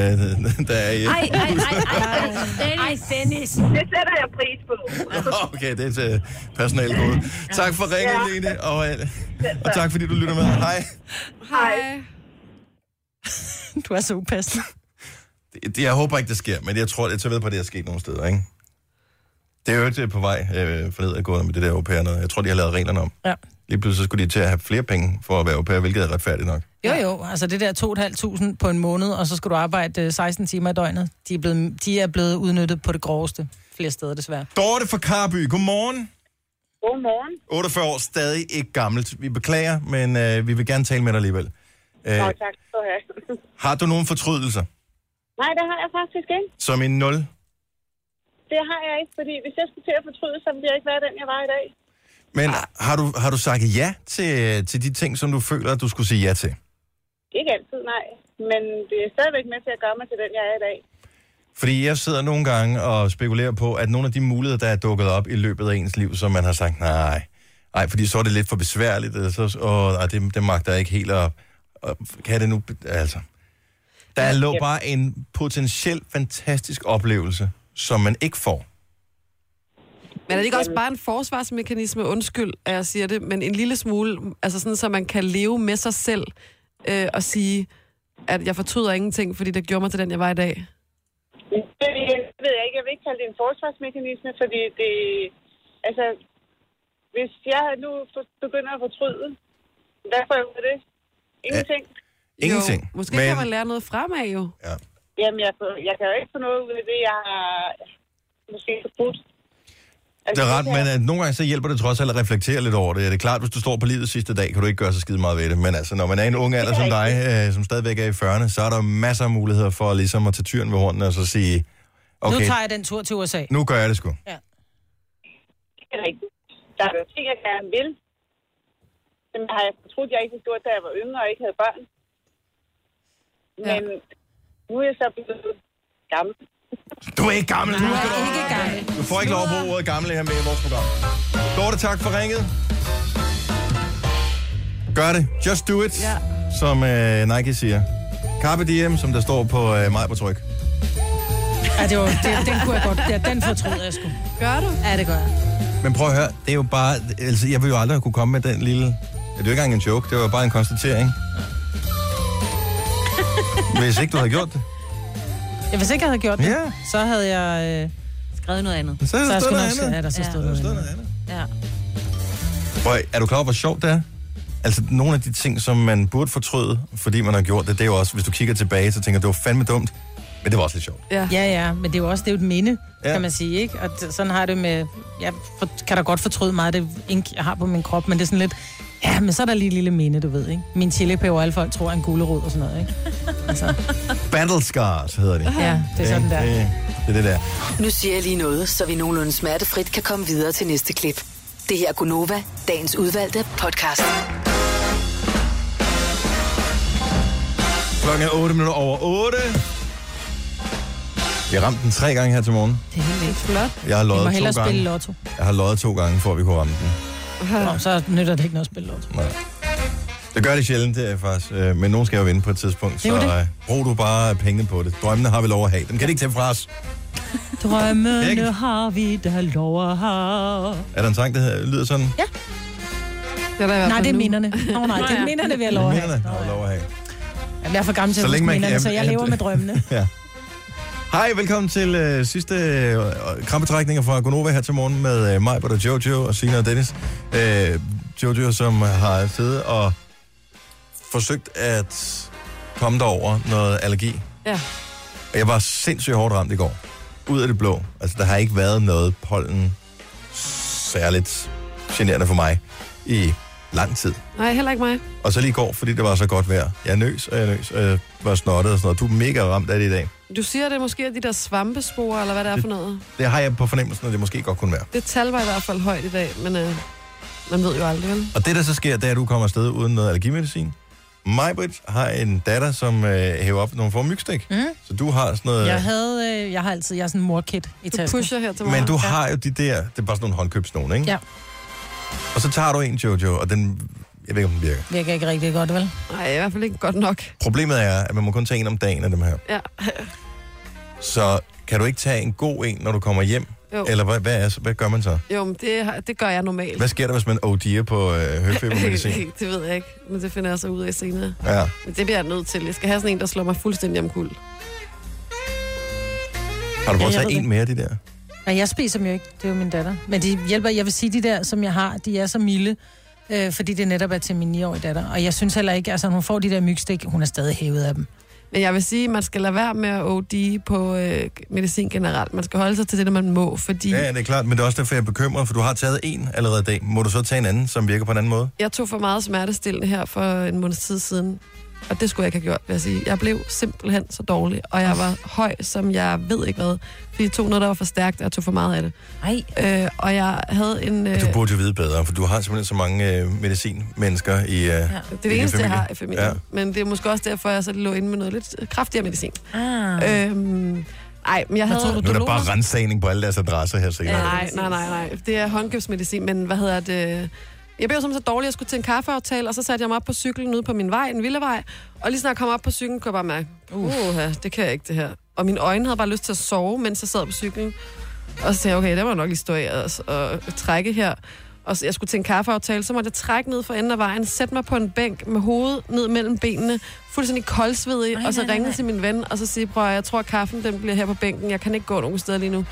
[SPEAKER 1] er i...
[SPEAKER 17] Ej, ej, ej, ej, Dennis. Ej, Dennis. Det sætter jeg pris på.
[SPEAKER 1] Okay, det er et personale gode. Tak for ringen,
[SPEAKER 17] Ja.
[SPEAKER 1] Lene, og, øh, og tak fordi du lytter med. Hej.
[SPEAKER 17] Hej.
[SPEAKER 2] Du er så upassende.
[SPEAKER 1] Det- Jeg håber ikke, det sker, men jeg tror, jeg tager ved på, at det er sket nogle steder, ikke? Det er jo ikke på vej øh, forleden at gå med det der au pair noget. Jeg tror, de har lavet reglerne om.
[SPEAKER 2] Ja.
[SPEAKER 1] Lige pludselig så skulle de til at have flere penge for at være au pair, hvilket er retfærdigt nok.
[SPEAKER 2] Jo, jo. Altså det der 2.500 på en måned, og så skal du arbejde øh, 16 timer i døgnet. De er blevet, de er blevet udnyttet på det groveste flere steder, desværre.
[SPEAKER 1] Dorte fra Karby, godmorgen.
[SPEAKER 18] Godmorgen.
[SPEAKER 1] 48 år, stadig ikke gammelt. Vi beklager, men øh, vi vil gerne tale med dig alligevel. Øh,
[SPEAKER 18] Nå, tak skal du have.
[SPEAKER 1] har du nogen fortrydelser?
[SPEAKER 18] Nej, det har jeg faktisk ikke.
[SPEAKER 1] Som en nul?
[SPEAKER 18] Det har jeg ikke, fordi hvis jeg skulle til at fortryde, så ville jeg ikke være den, jeg var i dag.
[SPEAKER 1] Men har du, har du sagt ja til, til de ting, som du føler, at du skulle sige ja til?
[SPEAKER 18] Ikke altid, nej. Men det er stadigvæk med til at gøre mig til den, jeg er i dag.
[SPEAKER 1] Fordi jeg sidder nogle gange og spekulerer på, at nogle af de muligheder, der er dukket op i løbet af ens liv, som man har sagt, nej, nej, fordi så er det lidt for besværligt, eller så, åh, nej, det, det magter jeg ikke helt, og, og kan det nu, altså. Der lå bare en potentiel fantastisk oplevelse, som man ikke får.
[SPEAKER 3] Men er det ikke også bare en forsvarsmekanisme, undskyld, at jeg siger det, men en lille smule, altså sådan, så man kan leve med sig selv øh, og sige, at jeg fortryder ingenting, fordi det gjorde mig til den, jeg var i dag.
[SPEAKER 18] Det ved jeg ikke. Jeg vil ikke kalde det en forsvarsmekanisme, fordi det... Altså, hvis jeg nu for- begynder at fortryde, hvad får jeg ud af det? Ingenting.
[SPEAKER 1] Ingenting.
[SPEAKER 18] Jo, måske
[SPEAKER 3] Skal
[SPEAKER 1] men,
[SPEAKER 3] man lære noget fremad jo?
[SPEAKER 18] Jamen, jeg, får- jeg kan jo ikke få noget ud af det, jeg har måske Altså, fortrudt.
[SPEAKER 1] det er ret, men at nogle gange så hjælper det trods alt at reflektere lidt over det. Det er klart, hvis du står på livets sidste dag, kan du ikke gøre så skide meget ved det. Men altså, når man er i en ung alder som dig, øh, som stadigvæk er i 40'erne, så er der masser af muligheder for ligesom at tage tyren ved hornene og så sige,
[SPEAKER 2] Okay. Nu
[SPEAKER 1] Okay.
[SPEAKER 2] tager jeg den tur til USA.
[SPEAKER 1] Nu gør jeg det sgu.
[SPEAKER 18] Det er rigtigt. Der er jo ting, jeg gerne vil. Som jeg har jeg troet, jeg ikke havde gjort, da jeg var yngre og ikke havde børn. Men ja. nu er jeg så blevet gammel.
[SPEAKER 1] Du er ikke gammel. Nej, du er ikke gammel. Du får ikke lov at bruge ordet gamle her med i vores program. Dorte, tak for ringet. Gør det. Just do it, ja. som øh, Nike siger. Carpe diem, som der står på øh, mig på tryk.
[SPEAKER 2] Ja, det var, det, den kunne jeg godt. Ja, den fortryder jeg sgu. Gør du? Ja, det gør jeg.
[SPEAKER 1] Men prøv at høre, det er jo bare... Altså, jeg vil jo aldrig kunne komme med den lille... Ja, det er jo ikke engang en joke, det var bare en konstatering. Hvis ikke du havde gjort det.
[SPEAKER 2] Ja, hvis ikke jeg havde gjort det,
[SPEAKER 1] Ja.
[SPEAKER 2] så havde jeg... Øh... Skrevet noget andet.
[SPEAKER 1] Så havde der
[SPEAKER 2] jeg
[SPEAKER 1] stået
[SPEAKER 2] skulle
[SPEAKER 1] noget
[SPEAKER 2] nok-
[SPEAKER 1] andet.
[SPEAKER 2] Ja, der så
[SPEAKER 1] Ja,
[SPEAKER 2] stod
[SPEAKER 1] der
[SPEAKER 2] noget
[SPEAKER 1] stod
[SPEAKER 2] andet.
[SPEAKER 4] Ja.
[SPEAKER 1] Prøv, at- er du klar over, hvor sjovt det er? Altså, nogle af de ting, som man burde fortryde, fordi man har gjort det, det er jo også, hvis du kigger tilbage, så tænker du, det var fandme dumt, men det var også lidt sjovt.
[SPEAKER 2] Ja. ja, ja, men det er jo også det er jo et minde,
[SPEAKER 1] Ja.
[SPEAKER 2] ja. kan man sige, ikke? Og t- sådan har jeg det med, jeg for, kan da godt fortryde meget af det ink, jeg har på min krop, men det er sådan lidt, ja, men så er der lige et lille minde, du ved, ikke? Min chilipeber, alle folk tror er en gulerod og sådan noget, ikke? Altså,
[SPEAKER 1] Battle Scars hedder det.
[SPEAKER 2] Ja, det er sådan der.
[SPEAKER 1] Det, det er det der.
[SPEAKER 7] Nu siger jeg lige noget, så vi nogenlunde smertefrit kan komme videre til næste klip. Det her er Gunova, dagens udvalgte podcast.
[SPEAKER 1] Klokken er 8 minutter over 8. Jeg ramte den tre gange her til morgen.
[SPEAKER 2] det er helt vildt. flot.
[SPEAKER 1] Jeg har løjet
[SPEAKER 2] Vi
[SPEAKER 1] to
[SPEAKER 2] må hellere
[SPEAKER 1] gange.
[SPEAKER 2] spille lotto.
[SPEAKER 1] Jeg har løjet to gange, for at vi kunne ramme den.
[SPEAKER 2] Nå, så nytter det ikke noget at spille lotto.
[SPEAKER 1] Nej. Det gør det sjældent, det er faktisk. øh, Men nogen skal jo vinde på et tidspunkt,
[SPEAKER 2] Det er
[SPEAKER 1] så
[SPEAKER 2] jo
[SPEAKER 1] øh, brug du bare pengene på det. Drømmene har vi lov at have. Dem kan de ikke tage fra os.
[SPEAKER 2] Drømmene har vi, der lov at have.
[SPEAKER 1] Er der en sang, der hedder- lyder sådan? Ja.
[SPEAKER 3] Det er der i hvert
[SPEAKER 2] Nej,
[SPEAKER 3] fald
[SPEAKER 2] det er
[SPEAKER 3] nu.
[SPEAKER 2] minderne. Nå, nej, det er minderne, vi har lov at have.
[SPEAKER 1] Har vi lov at have.
[SPEAKER 2] Jamen, jeg er for gammel til
[SPEAKER 1] Så
[SPEAKER 2] at huske
[SPEAKER 1] længe man
[SPEAKER 2] minderne,
[SPEAKER 1] kan-
[SPEAKER 2] så jeg
[SPEAKER 1] ja,
[SPEAKER 2] lever
[SPEAKER 1] det-
[SPEAKER 2] med drømmene.
[SPEAKER 1] Ja. Hej, velkommen til øh, sidste øh, krampetrækninger fra Gonova her til morgen med øh, mig, og Jojo og Sina og Dennis. Øh, Jojo, som har siddet og forsøgt at komme derover noget allergi.
[SPEAKER 3] Ja.
[SPEAKER 1] Og jeg var sindssygt hårdt ramt i går. Ud af det blå. Altså, der har ikke været noget pollen særligt generende for mig i lang tid.
[SPEAKER 3] Nej, heller ikke mig.
[SPEAKER 1] Og så lige i går, fordi det var så godt vejr. Jeg nøs, og jeg nøs, og jeg var snottet og sådan noget. Du er mega ramt af det i dag.
[SPEAKER 3] Du siger, det er måske de der svampesporer, eller hvad det er for noget.
[SPEAKER 1] Det har jeg på fornemmelsen, at det måske godt kunne være.
[SPEAKER 3] Det tal var i hvert fald højt i dag, men øh, man ved jo aldrig, vel?
[SPEAKER 1] Og det, der så sker, det er, at du kommer afsted uden noget allergimedicin. Majbrit har en datter, som øh, hæver op nogle form mygstik. Mm. Så du har sådan noget...
[SPEAKER 2] Mhm. Jeg havde, øh, jeg har altid, jeg er sådan en morkit i
[SPEAKER 3] Du
[SPEAKER 2] tasken.
[SPEAKER 3] pusher her til
[SPEAKER 1] Men du har jo de der... Det er bare sådan nogle håndkøbsnogen, ikke?
[SPEAKER 2] Ja.
[SPEAKER 1] Og så tager du en, Jojo, og den... Jeg ved ikke, om den virker.
[SPEAKER 2] Virker ikke rigtig godt, vel?
[SPEAKER 3] Nej, i hvert fald ikke godt nok.
[SPEAKER 1] Problemet er, at man må kun tage en om dagen af dem her.
[SPEAKER 3] Ja.
[SPEAKER 1] Så kan du ikke tage en god en, når du kommer hjem?
[SPEAKER 3] Jo.
[SPEAKER 1] Eller hvad, hvad, er, hvad gør man så?
[SPEAKER 3] Jo, men det, har- det gør jeg normalt.
[SPEAKER 1] Hvad sker der, hvis man OD'er på øh, høfebermedicin?
[SPEAKER 3] det ved jeg ikke, men det finder jeg så ud af senere.
[SPEAKER 1] Ja.
[SPEAKER 3] Men det bliver jeg nødt til. Jeg skal have sådan en, der slår mig fuldstændig omkuld.
[SPEAKER 1] Har du prøvet
[SPEAKER 2] jeg
[SPEAKER 1] at tage
[SPEAKER 2] ved
[SPEAKER 1] en
[SPEAKER 2] det.
[SPEAKER 1] mere af de der?
[SPEAKER 2] Nej, jeg spiser dem jo ikke. Det er jo min datter. Men de hjælper, jeg vil sige, de der, som jeg har, de er så milde. Øh, fordi det netop er til min 9-årige datter. Og jeg synes heller ikke, altså hun får de der mygstik, hun er stadig hævet af dem.
[SPEAKER 3] Men jeg vil sige, at man skal lade være med at OD på øh, medicin generelt. Man skal holde sig til det, man må, fordi
[SPEAKER 1] Ja,
[SPEAKER 3] ja,
[SPEAKER 1] ja, det er klart, men det er også derfor, jeg er bekymret, for du har taget en allerede i dag. Må du så tage en anden, som virker på en anden måde?
[SPEAKER 3] jeg tog for meget smertestillende her for en måneds tid siden. Og det skulle jeg ikke have gjort, vil jeg sige. Jeg blev simpelthen så dårlig, og jeg var høj, som jeg ved ikke hvad. Fordi jeg tog noget, der var for stærkt, og jeg tog for meget af det. Nej. Øh, og jeg havde en... Øh,
[SPEAKER 1] Du burde jo vide bedre, for du har simpelthen så mange øh, medicinmennesker i øh, ja,
[SPEAKER 3] Ja, det er det eneste, jeg har i familien. Ja. Men det er måske også derfor, jeg så lå inde med noget lidt kraftigere medicin. Ah.
[SPEAKER 2] Øh,
[SPEAKER 3] Øhm, ej, men jeg havde...
[SPEAKER 1] Nu er der bare rensagning på alle deres adresser her senere.
[SPEAKER 3] Nej, nej, nej, nej. Det er håndkøbsmedicin, men hvad hedder det... Jeg blev simpelthen så dårlig, jeg skulle til en kaffeaftale, og så satte jeg mig op på cyklen ude på min vej, en villevej, og lige snart jeg kom op på cyklen, kunne jeg bare mærke, uha, det kan jeg ikke det her. Og mine øjne havde bare lyst til at sove, mens jeg sad på cyklen. Og så tænkte jeg, okay, der må jeg nok lige stå af og, og trække her. Og så, jeg skulle til en kaffeaftale, så måtte jeg trække ned for enden af vejen, sætte mig på en bænk med hovedet ned mellem benene, fuldstændig koldsvedig, og så
[SPEAKER 4] nej, nej,
[SPEAKER 3] ringe
[SPEAKER 4] nej.
[SPEAKER 3] til min ven, og så sige, prøv at høre, jeg tror, at kaffen den bliver her på bænken, jeg kan ikke gå nogen steder lige nu.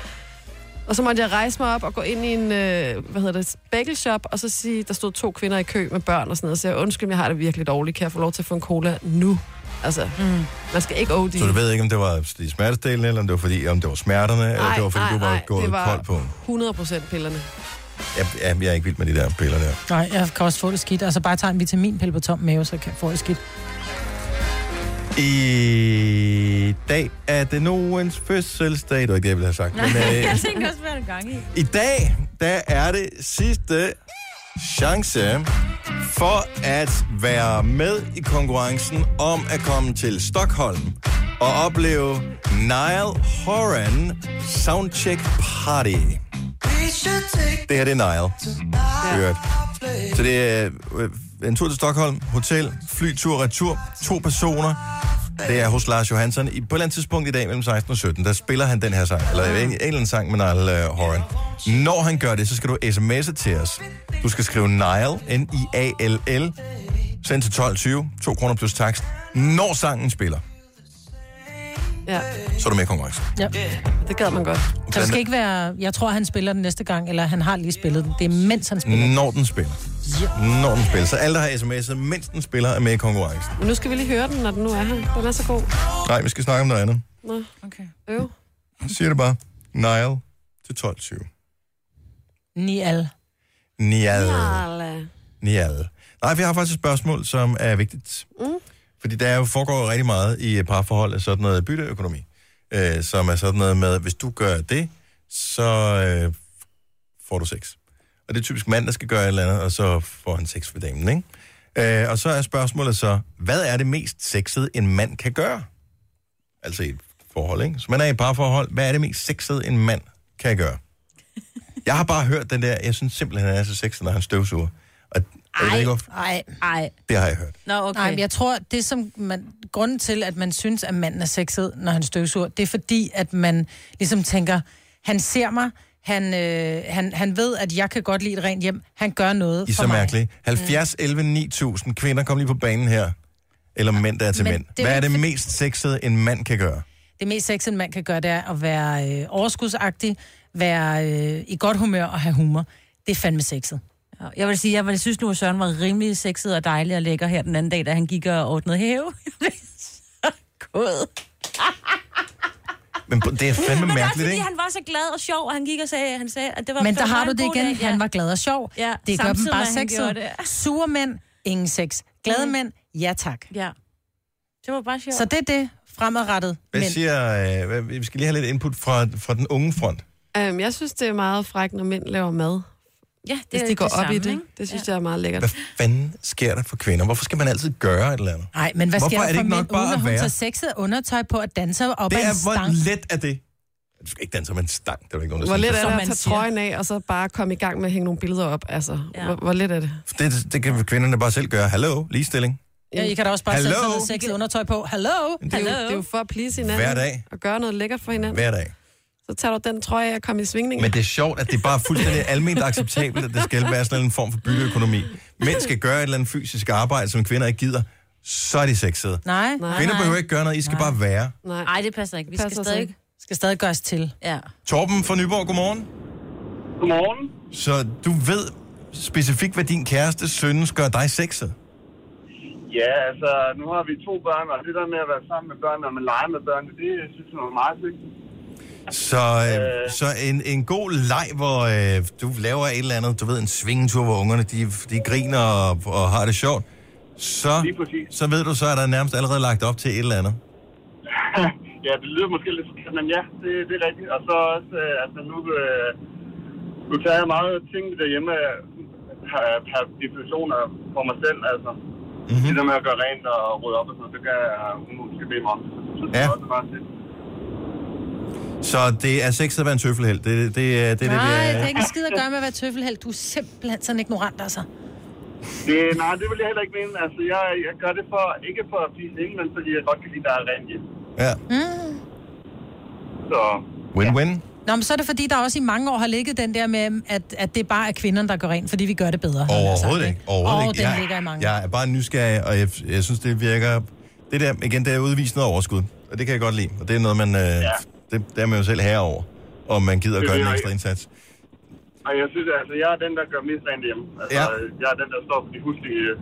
[SPEAKER 3] Og så måtte jeg rejse mig op og gå ind i en, øh, hvad hedder det, bagel shop, og så sige, der stod to kvinder i kø med børn og sådan noget, så jeg, undskyld, jeg har det virkelig dårligt, kan jeg få lov til at få en cola nu? Altså, mm. man skal ikke OD.
[SPEAKER 1] Så du ved ikke, om det var de smertestillende, eller om det var, fordi, om det var smerterne, eller
[SPEAKER 3] Ej,
[SPEAKER 1] det var, fordi
[SPEAKER 3] ej,
[SPEAKER 1] du var
[SPEAKER 3] ej,
[SPEAKER 1] gået
[SPEAKER 3] det var-
[SPEAKER 1] kold på.
[SPEAKER 3] 100% pillerne.
[SPEAKER 1] Jeg, jeg, jeg er ikke vild med de der piller der.
[SPEAKER 2] Nej, jeg kan også få det skidt. Altså bare tager en vitaminpille på tom mave, så kan jeg få det skidt.
[SPEAKER 1] I dag er det nogens fødselsdag. Det var ikke det, jeg ville have sagt. Men, øh,
[SPEAKER 4] jeg tænker også, hvad er der gang i?
[SPEAKER 1] I dag, der er det sidste chance for at være med i konkurrencen om at komme til Stockholm og opleve Nile Horan Soundcheck Party. Det her, det er Nile. Hørt. Så det er øh, en tur til Stockholm, hotel, flytur, retur, to personer. Det er hos Lars Johansson. I, på et eller andet tidspunkt i dag, mellem 16 og 17, der spiller han den her sang, eller en, en eller anden sang med Nile uh, Horan. Når han gør det, så skal du sms'e til os. Du skal skrive Nile, N-I-A-L-L, send til 12.20, 2 kroner plus takst. Når sangen spiller,
[SPEAKER 3] Ja,
[SPEAKER 1] så er du med i konkurrencen.
[SPEAKER 2] Ja.
[SPEAKER 3] det gad man godt.
[SPEAKER 2] Så det skal ikke være... Jeg tror, han spiller den næste gang, eller han har lige spillet den. Det er mens han spiller den.
[SPEAKER 1] Når den spiller. Når den spiller. Så alle, der har sms'et, mens den spiller, er med i konkurrencen.
[SPEAKER 3] Men nu skal vi lige høre den, når den nu er her. Den er så god.
[SPEAKER 1] Nej, vi skal snakke om noget andet.
[SPEAKER 3] Nå. Okay. Øv.
[SPEAKER 1] Jeg siger det bare. Nile til 12.20.
[SPEAKER 2] Nial.
[SPEAKER 1] Nial.
[SPEAKER 3] Arla.
[SPEAKER 1] Nial. Nej, vi har faktisk et spørgsmål, som er vigtigt. Mm. Fordi der er jo foregår jo rigtig meget i et parforhold af sådan noget bytteøkonomi. Øh, som er sådan noget med, at hvis du gør det, så øh, får du sex. Og det er typisk mand, der skal gøre et eller andet, og så får han sex for damen, ikke? Øh, og så er spørgsmålet så, hvad er det mest sexede, en mand kan gøre? Altså i et forhold, ikke? Så man er i et parforhold, hvad er det mest sexede, en mand kan gøre? Jeg har bare hørt den der, jeg synes simpelthen, han er så sexet, når han støvsuger. Og, og jeg ved ikke, hvorfor-
[SPEAKER 2] Nej,
[SPEAKER 4] nej.
[SPEAKER 1] det har jeg hørt.
[SPEAKER 4] Nå, okay.
[SPEAKER 2] Nej, men jeg tror, det som man, grunden til, at man synes, at manden er sexet, når han støvsuger, det er fordi, at man ligesom tænker, han ser mig, han, øh, han, han ved, at jeg kan godt lide et rent hjem, han gør noget
[SPEAKER 1] I er
[SPEAKER 2] for
[SPEAKER 1] så
[SPEAKER 2] mig. Mm.
[SPEAKER 1] mærkelige. 70, 11, 9000 kvinder kom lige på banen her. Eller mænd, der er til
[SPEAKER 2] Men
[SPEAKER 1] mænd.
[SPEAKER 2] det er
[SPEAKER 1] Hvad er
[SPEAKER 2] vel
[SPEAKER 1] det
[SPEAKER 2] fordi-
[SPEAKER 1] mest sexede, en mand kan gøre?
[SPEAKER 2] Det mest sexede, man kan gøre, det er at være øh, overskudsagtig, være øh, i godt humør og have humor. Det er fandme sexet.
[SPEAKER 4] Ja, Jeg vil sige, jeg vil synes nu, at Søren var rimelig sexet og dejlig og lækker her den anden dag, da han gik og ordnede have. Jeg blev så kod.
[SPEAKER 1] Men det er fandme
[SPEAKER 2] altså
[SPEAKER 4] Men det er også
[SPEAKER 1] mærkeligt,
[SPEAKER 4] fordi,
[SPEAKER 1] ikke?
[SPEAKER 4] han var så glad og sjov, og han gik og sagde, han sagde at det var
[SPEAKER 2] Men der
[SPEAKER 4] var
[SPEAKER 2] har
[SPEAKER 4] en
[SPEAKER 2] du det
[SPEAKER 4] god
[SPEAKER 2] igen.
[SPEAKER 4] dag.
[SPEAKER 2] Han var glad og sjov.
[SPEAKER 4] Ja,
[SPEAKER 2] det gør dem
[SPEAKER 4] samtidig
[SPEAKER 2] bare
[SPEAKER 4] med, at han
[SPEAKER 2] sexet.
[SPEAKER 4] gjorde
[SPEAKER 2] Sure mænd, ingen sex. Glade
[SPEAKER 4] Mm.
[SPEAKER 2] mænd, ja tak.
[SPEAKER 4] Ja. Det var bare sjovt.
[SPEAKER 2] Så det er det fremadrettet.
[SPEAKER 1] Hvad
[SPEAKER 2] mænd.
[SPEAKER 1] siger... Øh, hvad- vi skal lige have lidt input fra, fra den unge front.
[SPEAKER 3] Øhm, jeg synes, det er meget frækt, når mænd laver mad.
[SPEAKER 4] Ja, det
[SPEAKER 3] Hvis
[SPEAKER 4] er
[SPEAKER 3] de går
[SPEAKER 4] det
[SPEAKER 3] op i
[SPEAKER 4] samme,
[SPEAKER 3] det.
[SPEAKER 4] ikke?
[SPEAKER 3] Det synes jeg er meget lækkert.
[SPEAKER 1] Hvad fanden sker der for kvinder? Hvorfor skal man altid gøre et eller andet?
[SPEAKER 2] Nej, men hvad
[SPEAKER 1] Hvorfor
[SPEAKER 2] sker
[SPEAKER 1] er
[SPEAKER 2] der
[SPEAKER 1] det
[SPEAKER 2] for
[SPEAKER 1] ikke
[SPEAKER 2] mænd,
[SPEAKER 1] nok bare
[SPEAKER 2] uden at
[SPEAKER 1] at
[SPEAKER 2] hun tager
[SPEAKER 1] være?
[SPEAKER 2] sexet undertøj på og danser op
[SPEAKER 1] Det
[SPEAKER 2] ad en
[SPEAKER 1] er, hvor
[SPEAKER 2] stang?
[SPEAKER 1] let er det? Du skal ikke danse med en stang. Det er der ikke nogen, der
[SPEAKER 3] Hvor
[SPEAKER 1] siger.
[SPEAKER 3] let er det at tage trøjen af, og så bare komme i gang med at hænge nogle billeder op? Altså, ja. hvor, hvor let er det?
[SPEAKER 1] det, det kan kvinderne bare selv gøre. Hallo, ligestilling.
[SPEAKER 2] Ja, I kan da også bare
[SPEAKER 1] Hallo?
[SPEAKER 2] selv tage noget sexet undertøj på. Hallo?
[SPEAKER 3] Det er, jo, det er jo for at please hinanden.
[SPEAKER 1] Hver dag.
[SPEAKER 3] Og gøre noget lækkert for hinanden.
[SPEAKER 1] Hver dag.
[SPEAKER 3] Så tager du den trøje af og kommer i svingning.
[SPEAKER 1] Men det er sjovt, at det er bare fuldstændig almindeligt acceptabelt, at det skal være sådan en form for byggeøkonomi. Mænd skal gøre et eller andet fysisk arbejde, som kvinder ikke gider, så er de sexede.
[SPEAKER 2] Nej.
[SPEAKER 1] Kvinder behøver ikke gøre noget, I skal bare være.
[SPEAKER 3] Nej,
[SPEAKER 4] Ej, det passer ikke. Vi skal
[SPEAKER 2] Passer
[SPEAKER 4] stadig...
[SPEAKER 2] sig. skal stadig gøres til.
[SPEAKER 4] Ja.
[SPEAKER 1] Torben fra Nyborg, godmorgen.
[SPEAKER 19] Godmorgen.
[SPEAKER 1] Så du ved specifikt, hvad din kæreste synes gør dig sexet.
[SPEAKER 19] Ja, altså, nu har vi to børn, og det der med at være sammen med børn, og man leger med børn, det synes jeg er meget vigtigt.
[SPEAKER 1] Så, øh, så en, en god leg, hvor øh, du laver et eller andet, du ved, en svingetur, hvor ungerne de, de griner og, og har det sjovt, så, så ved du så, at der er nærmest allerede lagt op til et eller andet.
[SPEAKER 19] ja, det lyder måske lidt forkert, men ja, det, det er rigtigt. Og så også, øh, altså nu, øh, nu tager jeg meget ting derhjemme øh, per, per definition af- for mig selv, altså. Mm-hmm. Det der med at gøre rent og rydde op og sådan noget, det kan jeg, hun måske bede mig om. Så det
[SPEAKER 1] Ja.
[SPEAKER 19] er også meget fedt.
[SPEAKER 1] Så det er sexet at være en tøffelhelt. Det, det, det, er det, det,
[SPEAKER 2] Nej,
[SPEAKER 1] vi
[SPEAKER 2] det er ikke en skid at gøre med at være tøffelheld. Du er simpelthen sådan ignorant, altså.
[SPEAKER 19] Det, Øh, nej, det vil jeg heller ikke mene. Altså, jeg, jeg gør det for, ikke for at please ingen, men fordi jeg godt kan lide, der er rent hjem.
[SPEAKER 1] Ja.
[SPEAKER 2] Mm.
[SPEAKER 19] Så,
[SPEAKER 1] Win-win.
[SPEAKER 2] Nå, men så er det fordi, der også i mange år har ligget den der med, at, at det bare er kvinderne, der går rent, fordi vi gør det bedre. havde jeg sagt,
[SPEAKER 1] Overhovedet ikke. Overhovedet
[SPEAKER 2] altså- Åh,
[SPEAKER 1] ikke.
[SPEAKER 2] den
[SPEAKER 1] jeg,
[SPEAKER 2] ligger i mange.
[SPEAKER 1] Jeg er bare nysgerrig, og jeg, jeg synes, det virker... Det der, igen, det er udvist noget overskud, og det kan jeg godt lide. Og det er noget, man... Øh, ja. det, det er man jo selv herover, om man gider at
[SPEAKER 19] Det
[SPEAKER 1] gøre
[SPEAKER 19] ved
[SPEAKER 1] en
[SPEAKER 19] jeg
[SPEAKER 1] ekstra
[SPEAKER 19] ikke.
[SPEAKER 1] indsats.
[SPEAKER 19] og jeg synes, altså, jeg er den, der gør mest rent hjemme. Altså,
[SPEAKER 1] Ja.
[SPEAKER 19] ja. jeg er den, der står for de huslige øh,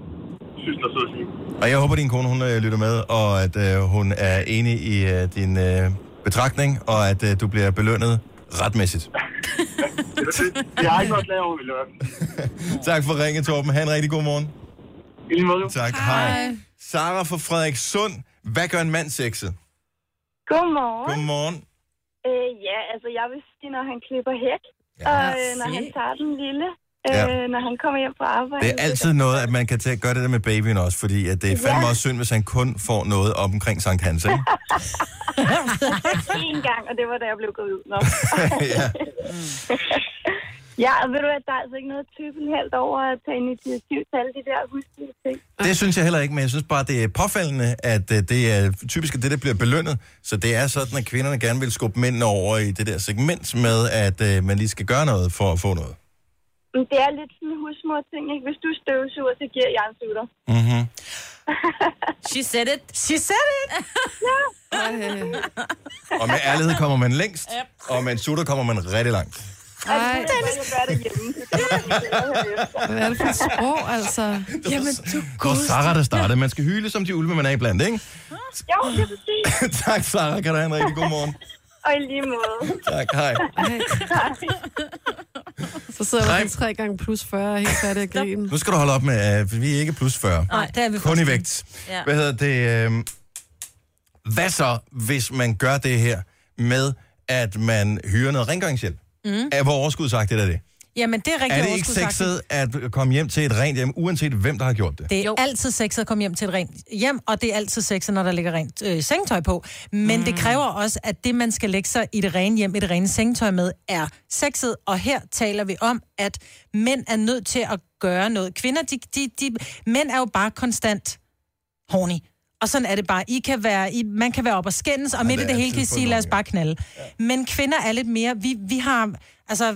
[SPEAKER 19] sysler, så at sige.
[SPEAKER 1] Og jeg håber, din kone hun, øh, lytter med, og at øh, hun er enig i øh, din øh, betragtning, og at øh, du bliver belønnet retmæssigt.
[SPEAKER 19] Jeg har ikke noget lavet, vi løber.
[SPEAKER 1] tak for ringet, Torben. Ha' en rigtig god morgen.
[SPEAKER 19] I lige måde.
[SPEAKER 1] Tak. Hej. Sara fra Frederik Sund. Hvad gør en mand sexet?
[SPEAKER 20] Godmorgen.
[SPEAKER 1] Godmorgen.
[SPEAKER 20] Øh, ja, altså jeg vil sige, når han klipper hæk, ja, og øh, når han tager den lille, øh,
[SPEAKER 1] Ja.
[SPEAKER 20] ja. når han kommer hjem fra arbejde.
[SPEAKER 1] Det er altid noget, at man kan tage, gøre det der med babyen også, fordi at det er fandme også synd, hvis han kun får noget op omkring Sankt Hans, ikke?
[SPEAKER 20] en gang, og det var da jeg blev gravid. Nå.
[SPEAKER 1] ja.
[SPEAKER 20] ja, og ved du hvad, der er altså ikke noget typen helt over at tage initiativ til alle de der huslige ting.
[SPEAKER 1] Det synes jeg heller ikke, men jeg synes bare, det er påfaldende, at øh, det er typisk at det, der bliver belønnet. Så det er sådan, at kvinderne gerne vil skubbe mændene over i det der segment med, at øh, man lige skal gøre noget for at få noget.
[SPEAKER 20] Men det er lidt sådan en husmor-ting, ikke? Hvis du støvsuger, så giver jeg en sutter.
[SPEAKER 1] Mm-hmm.
[SPEAKER 4] She said it.
[SPEAKER 2] She said it.
[SPEAKER 20] ja.
[SPEAKER 1] Og med ærlighed kommer man længst, og med en sutter kommer man rigtig langt.
[SPEAKER 3] Ej.
[SPEAKER 20] Altså, det kan gøre derhjemme. Det kan jeg ikke
[SPEAKER 3] Hvad er det for et sprog, altså? Jamen, du
[SPEAKER 1] Det var Sara, der startede. Man skal hyle som de ulve, man er iblandt, ikke?
[SPEAKER 20] Jo, det er præcis.
[SPEAKER 1] tak, Sara. Kan du have en rigtig god morgen.
[SPEAKER 20] Og i lige måde.
[SPEAKER 1] Tak, hej.
[SPEAKER 3] Så sidder der sådan tre gange plus 40 og helt færdig at grine.
[SPEAKER 1] Nu skal du holde op med, at vi er ikke plus 40.
[SPEAKER 3] Nej, det er vi
[SPEAKER 1] Kun i
[SPEAKER 3] faktisk
[SPEAKER 1] vægt.
[SPEAKER 3] ikke. Ja.
[SPEAKER 1] Hvad hedder det? Øh... Hvad så, hvis man gør det her med, at man hyrer noget rengøringshjælp?
[SPEAKER 2] Mm.
[SPEAKER 1] Er hvor overskudsagtigt er det?
[SPEAKER 2] Jamen, det er rigtig
[SPEAKER 1] er det ikke
[SPEAKER 2] overskudsagtigt.
[SPEAKER 1] sexet at komme hjem til et rent hjem, uanset hvem, der har gjort det?
[SPEAKER 2] Det er jo. altid sexet at komme hjem til et rent hjem, og det er altid sexet, når der ligger rent øh, sengtøj på. Men mm. det kræver også, at det, man skal lægge sig i det rene hjem, i det rene sengtøj med, er sexet. Og her taler vi om, at mænd er nødt til at gøre noget. Kvinder, de, de, de, mænd er jo bare konstant horny. Og sådan er det bare. I kan være, I, man kan være op og skændes, og ja, midt
[SPEAKER 5] det er
[SPEAKER 2] i det hele kan I
[SPEAKER 5] altid
[SPEAKER 2] sige,
[SPEAKER 5] på
[SPEAKER 2] lad os bare knalde. Ja. Men kvinder er lidt mere, vi, vi har, altså,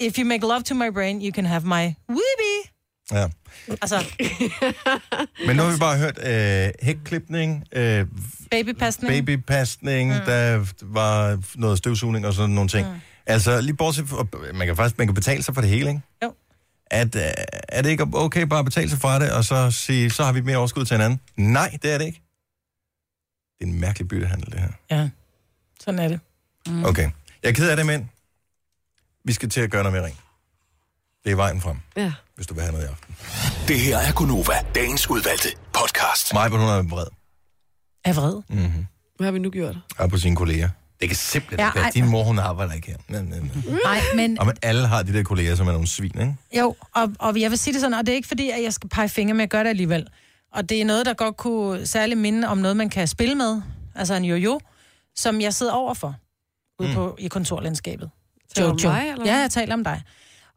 [SPEAKER 2] if you make love to my brain, you can have my whoopee.
[SPEAKER 1] Ja.
[SPEAKER 2] Altså,
[SPEAKER 1] Men nu har vi bare hørt øh, hækklipning, øh,
[SPEAKER 2] babypasning.
[SPEAKER 1] babypasning, mm. der var noget støvsugning og sådan nogle ting. Mm. Altså, lige bortset fra, man kan faktisk man kan betale sig for det hele, ikke?
[SPEAKER 2] Jo.
[SPEAKER 1] At, øh, er det ikke okay bare at betale sig fra det, og så sige, så har vi mere overskud til hinanden? Nej, det er det ikke. Det er en mærkelig byttehandel, det her.
[SPEAKER 2] Ja, sådan er det.
[SPEAKER 1] Mm. Okay. Jeg er ked af det, men vi skal til at gøre noget mere ring. Det er vejen frem,
[SPEAKER 3] Ja.
[SPEAKER 1] hvis du vil have noget i aften.
[SPEAKER 8] Det her er Gunova, dagens udvalgte podcast.
[SPEAKER 1] Mig, hun er vred.
[SPEAKER 2] Er vred?
[SPEAKER 1] Mm-hmm.
[SPEAKER 3] Hvad har vi nu gjort?
[SPEAKER 1] Og på sine kolleger. Det kan simpelthen
[SPEAKER 2] Ja,
[SPEAKER 1] ja, ikke være.
[SPEAKER 2] ej.
[SPEAKER 1] Din mor, hun arbejder ikke her. Nej, nej, nej.
[SPEAKER 3] Mm.
[SPEAKER 2] Nej, men
[SPEAKER 1] Og men alle har de der kolleger, som er nogle svin, ikke?
[SPEAKER 2] jo, og, og jeg vil sige det sådan, og det er ikke fordi, at jeg skal pege fingre, men jeg gør det alligevel. Og det er noget, der godt kunne særligt minde om noget, man kan spille med, altså en jojo, som jeg sidder overfor ude mm. på, i kontorlandskabet.
[SPEAKER 3] Taler du om mig, eller
[SPEAKER 2] ja,
[SPEAKER 3] hvad?
[SPEAKER 2] jeg taler om dig.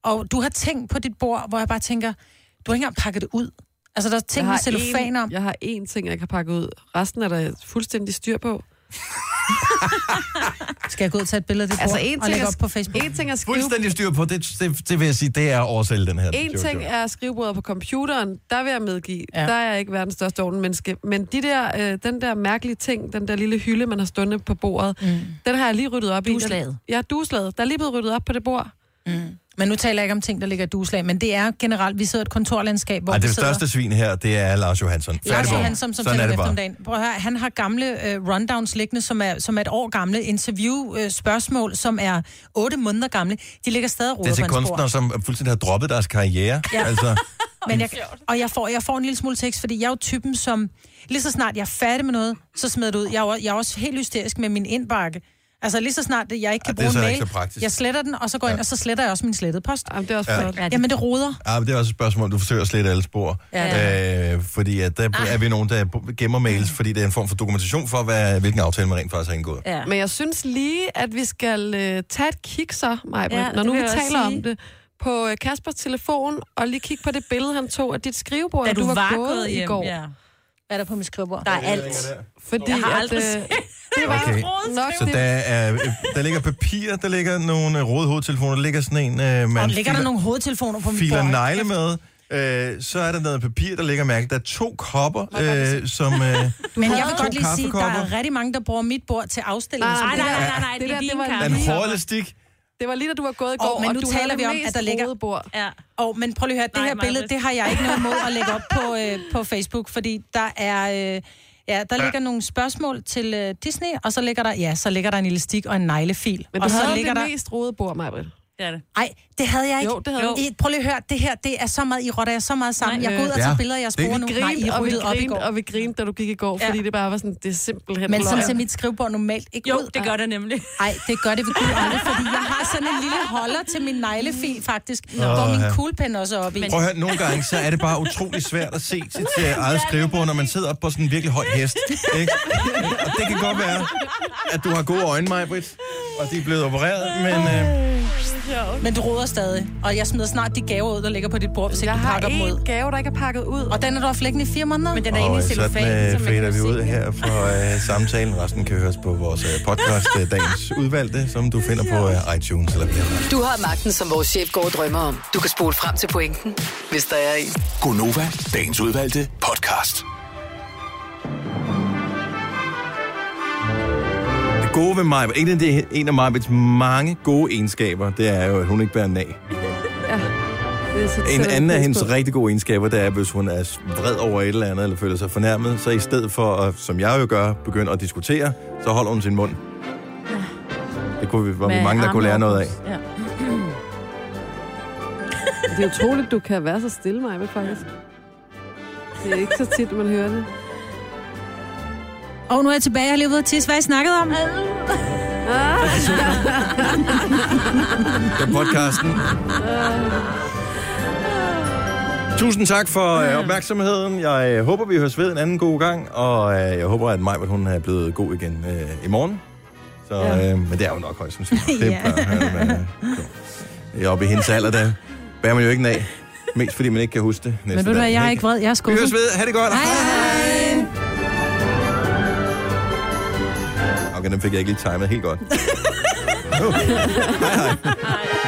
[SPEAKER 2] Og du har ting på dit bord, hvor jeg bare tænker, du har ikke engang pakket det ud. Altså, der er ting med cellofan om.
[SPEAKER 3] Jeg har én ting, jeg kan pakke ud. Resten er der fuldstændig styr på.
[SPEAKER 2] Skal jeg gå ud og tage et billede af dit
[SPEAKER 3] Altså,
[SPEAKER 2] bord
[SPEAKER 3] en
[SPEAKER 2] og
[SPEAKER 3] ting
[SPEAKER 2] lægge
[SPEAKER 3] er-
[SPEAKER 2] op på Facebook?
[SPEAKER 3] En ting er skrive
[SPEAKER 1] Fuldstændig styr på, det, det, det vil jeg sige, det er at oversælge den her.
[SPEAKER 3] En
[SPEAKER 1] jojo.
[SPEAKER 3] ting er skrivebordet på computeren, der vil jeg medgive.
[SPEAKER 2] Ja.
[SPEAKER 3] Ja. Der er jeg ikke verdens største ordensmenneske. Men de der, øh, den der mærkelige ting, den der lille hylde, man har stående på bordet, mm. den har jeg lige ryddet op i.
[SPEAKER 2] Dueslaget.
[SPEAKER 3] Ja, duslaget. Der er lige blevet ryddet op på det bord.
[SPEAKER 2] Mm. Men nu taler jeg ikke om ting, der ligger i duslag, men det er generelt, vi sidder i et kontorlandskab, hvor
[SPEAKER 1] Ej,
[SPEAKER 2] vi
[SPEAKER 1] det
[SPEAKER 2] sidder...
[SPEAKER 1] største svin her, det er Lars Johansson.
[SPEAKER 2] Lars
[SPEAKER 1] Færdigbom.
[SPEAKER 2] Johansson, som
[SPEAKER 1] Sådan er
[SPEAKER 2] sender
[SPEAKER 1] det
[SPEAKER 2] om
[SPEAKER 1] bare.
[SPEAKER 2] eftermiddagen. Prøv at høre, han har gamle uh, rundowns liggende, som er, som er et år gamle interview-spørgsmål, som er otte måneder gamle. De ligger stadig og
[SPEAKER 1] Det er
[SPEAKER 2] roder
[SPEAKER 1] til
[SPEAKER 2] på hans
[SPEAKER 1] kunstnere,
[SPEAKER 2] bord.
[SPEAKER 1] som fuldstændig har droppet deres karriere.
[SPEAKER 2] Ja.
[SPEAKER 1] Altså,
[SPEAKER 2] Men jeg, og jeg får, jeg får en lille smule tekst, fordi jeg er jo typen, som lige så snart jeg er færdig med noget, så smider det ud. Jeg er, jo- jeg er også helt hysterisk med min indbakke. Altså lige så snart jeg ikke kan
[SPEAKER 1] Ja, det er
[SPEAKER 2] bruge en
[SPEAKER 1] så
[SPEAKER 2] mail,
[SPEAKER 1] ikke så praktisk.
[SPEAKER 2] jeg sletter den, og så går jeg ind, og så sletter jeg også min slettede post.
[SPEAKER 3] Jamen, det er også
[SPEAKER 1] Ja. flot.
[SPEAKER 2] ja. Jamen det roder.
[SPEAKER 1] ah, men det er også et spørgsmål, du forsøger at slette alle spor.
[SPEAKER 2] Ja.
[SPEAKER 1] Øh, fordi at der er vi nogen, der gemmer mails, fordi det er en form for dokumentation for, hvad, hvilken aftale man rent faktisk har indgået.
[SPEAKER 3] Ja. Men jeg synes lige, at vi skal øh, tage et kig så, Maja,
[SPEAKER 4] Ja,
[SPEAKER 3] ja, når
[SPEAKER 4] det
[SPEAKER 3] nu
[SPEAKER 4] vil
[SPEAKER 3] vi
[SPEAKER 4] jeg også
[SPEAKER 3] taler
[SPEAKER 4] sige.
[SPEAKER 3] om det, på øh, Kaspers telefon, og lige kigge på det billede, han tog af dit skrivebord,
[SPEAKER 4] Da
[SPEAKER 3] at
[SPEAKER 4] du
[SPEAKER 3] var,
[SPEAKER 4] var
[SPEAKER 3] gået
[SPEAKER 4] gået
[SPEAKER 3] i
[SPEAKER 4] hjem,
[SPEAKER 3] går.
[SPEAKER 4] ja.
[SPEAKER 2] Hvad er der på mit skrivebord?
[SPEAKER 4] Der er alt.
[SPEAKER 3] Fordi
[SPEAKER 4] Jeg har
[SPEAKER 3] at,
[SPEAKER 4] aldrig
[SPEAKER 3] øh,
[SPEAKER 4] set-
[SPEAKER 3] det var
[SPEAKER 1] Okay.
[SPEAKER 3] nok
[SPEAKER 1] Så
[SPEAKER 3] det.
[SPEAKER 1] der, er, øh, der ligger papir, der ligger nogle øh, røde hovedtelefoner, der ligger sådan en, øh, man
[SPEAKER 2] og ligger der nogle hovedtelefoner på mit
[SPEAKER 1] filer
[SPEAKER 2] bord?
[SPEAKER 1] negle med. Øh, så er der noget papir, der ligger mærke. Der er to kopper, øh, som... Øh,
[SPEAKER 2] Men
[SPEAKER 1] to
[SPEAKER 2] jeg vil godt lige sige, der
[SPEAKER 1] kaffekopper.
[SPEAKER 2] er rigtig mange, der bruger mit bord til afstilling.
[SPEAKER 3] Nej,
[SPEAKER 2] Så
[SPEAKER 3] nej,
[SPEAKER 2] det
[SPEAKER 3] nej,
[SPEAKER 2] der-
[SPEAKER 3] nej, nej, Ah, det er
[SPEAKER 2] der,
[SPEAKER 3] din
[SPEAKER 2] var
[SPEAKER 3] kaffe.
[SPEAKER 2] en-
[SPEAKER 1] Den hårde elastik.
[SPEAKER 3] Det var lige, da du var gået i går,
[SPEAKER 2] Og, men
[SPEAKER 3] og
[SPEAKER 2] nu
[SPEAKER 3] du
[SPEAKER 2] taler
[SPEAKER 3] havde
[SPEAKER 2] vi
[SPEAKER 3] det
[SPEAKER 2] om,
[SPEAKER 3] mest
[SPEAKER 2] at der ligger...
[SPEAKER 3] rodede bord.
[SPEAKER 4] Ja.
[SPEAKER 2] Og, men prøv lige at høre, det
[SPEAKER 4] Nej,
[SPEAKER 2] her
[SPEAKER 4] Maja,
[SPEAKER 2] billede,
[SPEAKER 4] det-
[SPEAKER 2] det har jeg ikke noget mod at lægge op på, øh, på Facebook, fordi der er... Øh, ja, der
[SPEAKER 4] Ja.
[SPEAKER 2] ligger nogle spørgsmål til øh, Disney, og så ligger der, ja, så ligger der en elastik og en neglefil.
[SPEAKER 3] Men du
[SPEAKER 2] og så
[SPEAKER 3] havde
[SPEAKER 2] ligger
[SPEAKER 3] det mest rodede bord, Maja.
[SPEAKER 21] Det er det.
[SPEAKER 2] Ej, det havde jeg ikke.
[SPEAKER 21] Jo, det havde du.
[SPEAKER 2] I, prøv lige at høre, det her, det er så meget, I rotter jer så meget sammen. Nej, jeg går ud og
[SPEAKER 3] Ja.
[SPEAKER 2] tager billeder, jeg sporer nu.
[SPEAKER 3] Vi
[SPEAKER 2] Nej, I
[SPEAKER 3] grinede, og vi
[SPEAKER 2] ryddede op i
[SPEAKER 3] grinede,
[SPEAKER 2] går.
[SPEAKER 3] og vi grinede, da du gik i går, fordi det bare var sådan, det er simpelthen
[SPEAKER 2] Men sådan
[SPEAKER 3] løgn.
[SPEAKER 2] ser mit skrivebord normalt ikke
[SPEAKER 21] Jo,
[SPEAKER 2] ud.
[SPEAKER 21] det gør det nemlig.
[SPEAKER 2] Nej, det gør det ved Gud aldrig, fordi jeg har sådan en lille holder til min neglefil faktisk,
[SPEAKER 1] Nå.
[SPEAKER 2] hvor min
[SPEAKER 1] Åh, ja.
[SPEAKER 2] kuglepen også er oppe i.
[SPEAKER 1] Prøv at høre, nogle gange, så er det bare utrolig svært at se til, til eget skrivebord, når man sidder op på sådan en virkelig høj hest. Ikke? Og det kan godt være, at du har gode øjne, Majbrit, og de er blevet opereret, men... Øh,
[SPEAKER 2] Men du roder stadig, og jeg smider snart de gaver ud, der ligger på dit bord, hvis ikke
[SPEAKER 3] Jeg
[SPEAKER 2] du
[SPEAKER 3] har
[SPEAKER 2] pakker dem ud.
[SPEAKER 3] en gave, der ikke er pakket ud.
[SPEAKER 2] Og den er du haft liggende i fire måneder. Men den
[SPEAKER 1] og sådan øh, fader vi ud her fra øh, samtalen. Resten kan høres på vores øh, podcast, øh, Dagens Udvalgte, som du finder på øh, iTunes eller bliver.
[SPEAKER 7] Du har magten, som vores chef går og drømmer om. Du kan spole frem til pointen, hvis der er en.
[SPEAKER 22] Gonova, dagens udvalgte podcast.
[SPEAKER 1] Det gode ved mig, en af, de, en af Marbets mange gode egenskaber, det er jo, at hun ikke bærer nag.
[SPEAKER 3] Det er så
[SPEAKER 1] En
[SPEAKER 3] tæt
[SPEAKER 1] anden af
[SPEAKER 3] pis
[SPEAKER 1] hendes
[SPEAKER 3] på.
[SPEAKER 1] rigtig gode egenskaber, det er, hvis hun er vred over et eller andet, eller føler sig fornærmet, så i stedet for, at, som jeg jo gør, begynde at diskutere, så holder hun sin mund. Det kunne vi, var vi
[SPEAKER 3] Med
[SPEAKER 1] mange, der kunne lære
[SPEAKER 3] armene
[SPEAKER 1] noget
[SPEAKER 3] op.
[SPEAKER 1] af.
[SPEAKER 21] Ja.
[SPEAKER 3] Det er utroligt, du kan være så stille, mig faktisk. Det er ikke så tit, man hører det.
[SPEAKER 2] Og nu er jeg tilbage, jeg har lige været tisse. Hvad har I snakket om?
[SPEAKER 1] Det er podcasten. Tusind tak for øh, opmærksomheden. Jeg øh, håber, vi høres ved en anden god gang, og øh, jeg håber, at Majbert, hun er blevet god igen øh, i morgen. Så, øh, men det er jo nok højst sandsynligt. Det
[SPEAKER 12] Ja.
[SPEAKER 1] plejer han at være. øh, Jo. Oppe i hendes alder, der bærer man jo ikke den af. Mest fordi man ikke kan huske det.
[SPEAKER 2] Men ved du hvad, jeg er ikke vred, jeg er skuffet.
[SPEAKER 1] Vi høres ved. Ha' det godt.
[SPEAKER 2] Hej,
[SPEAKER 1] hej. Okay, den fik jeg ikke lige timet helt godt. hej, hej.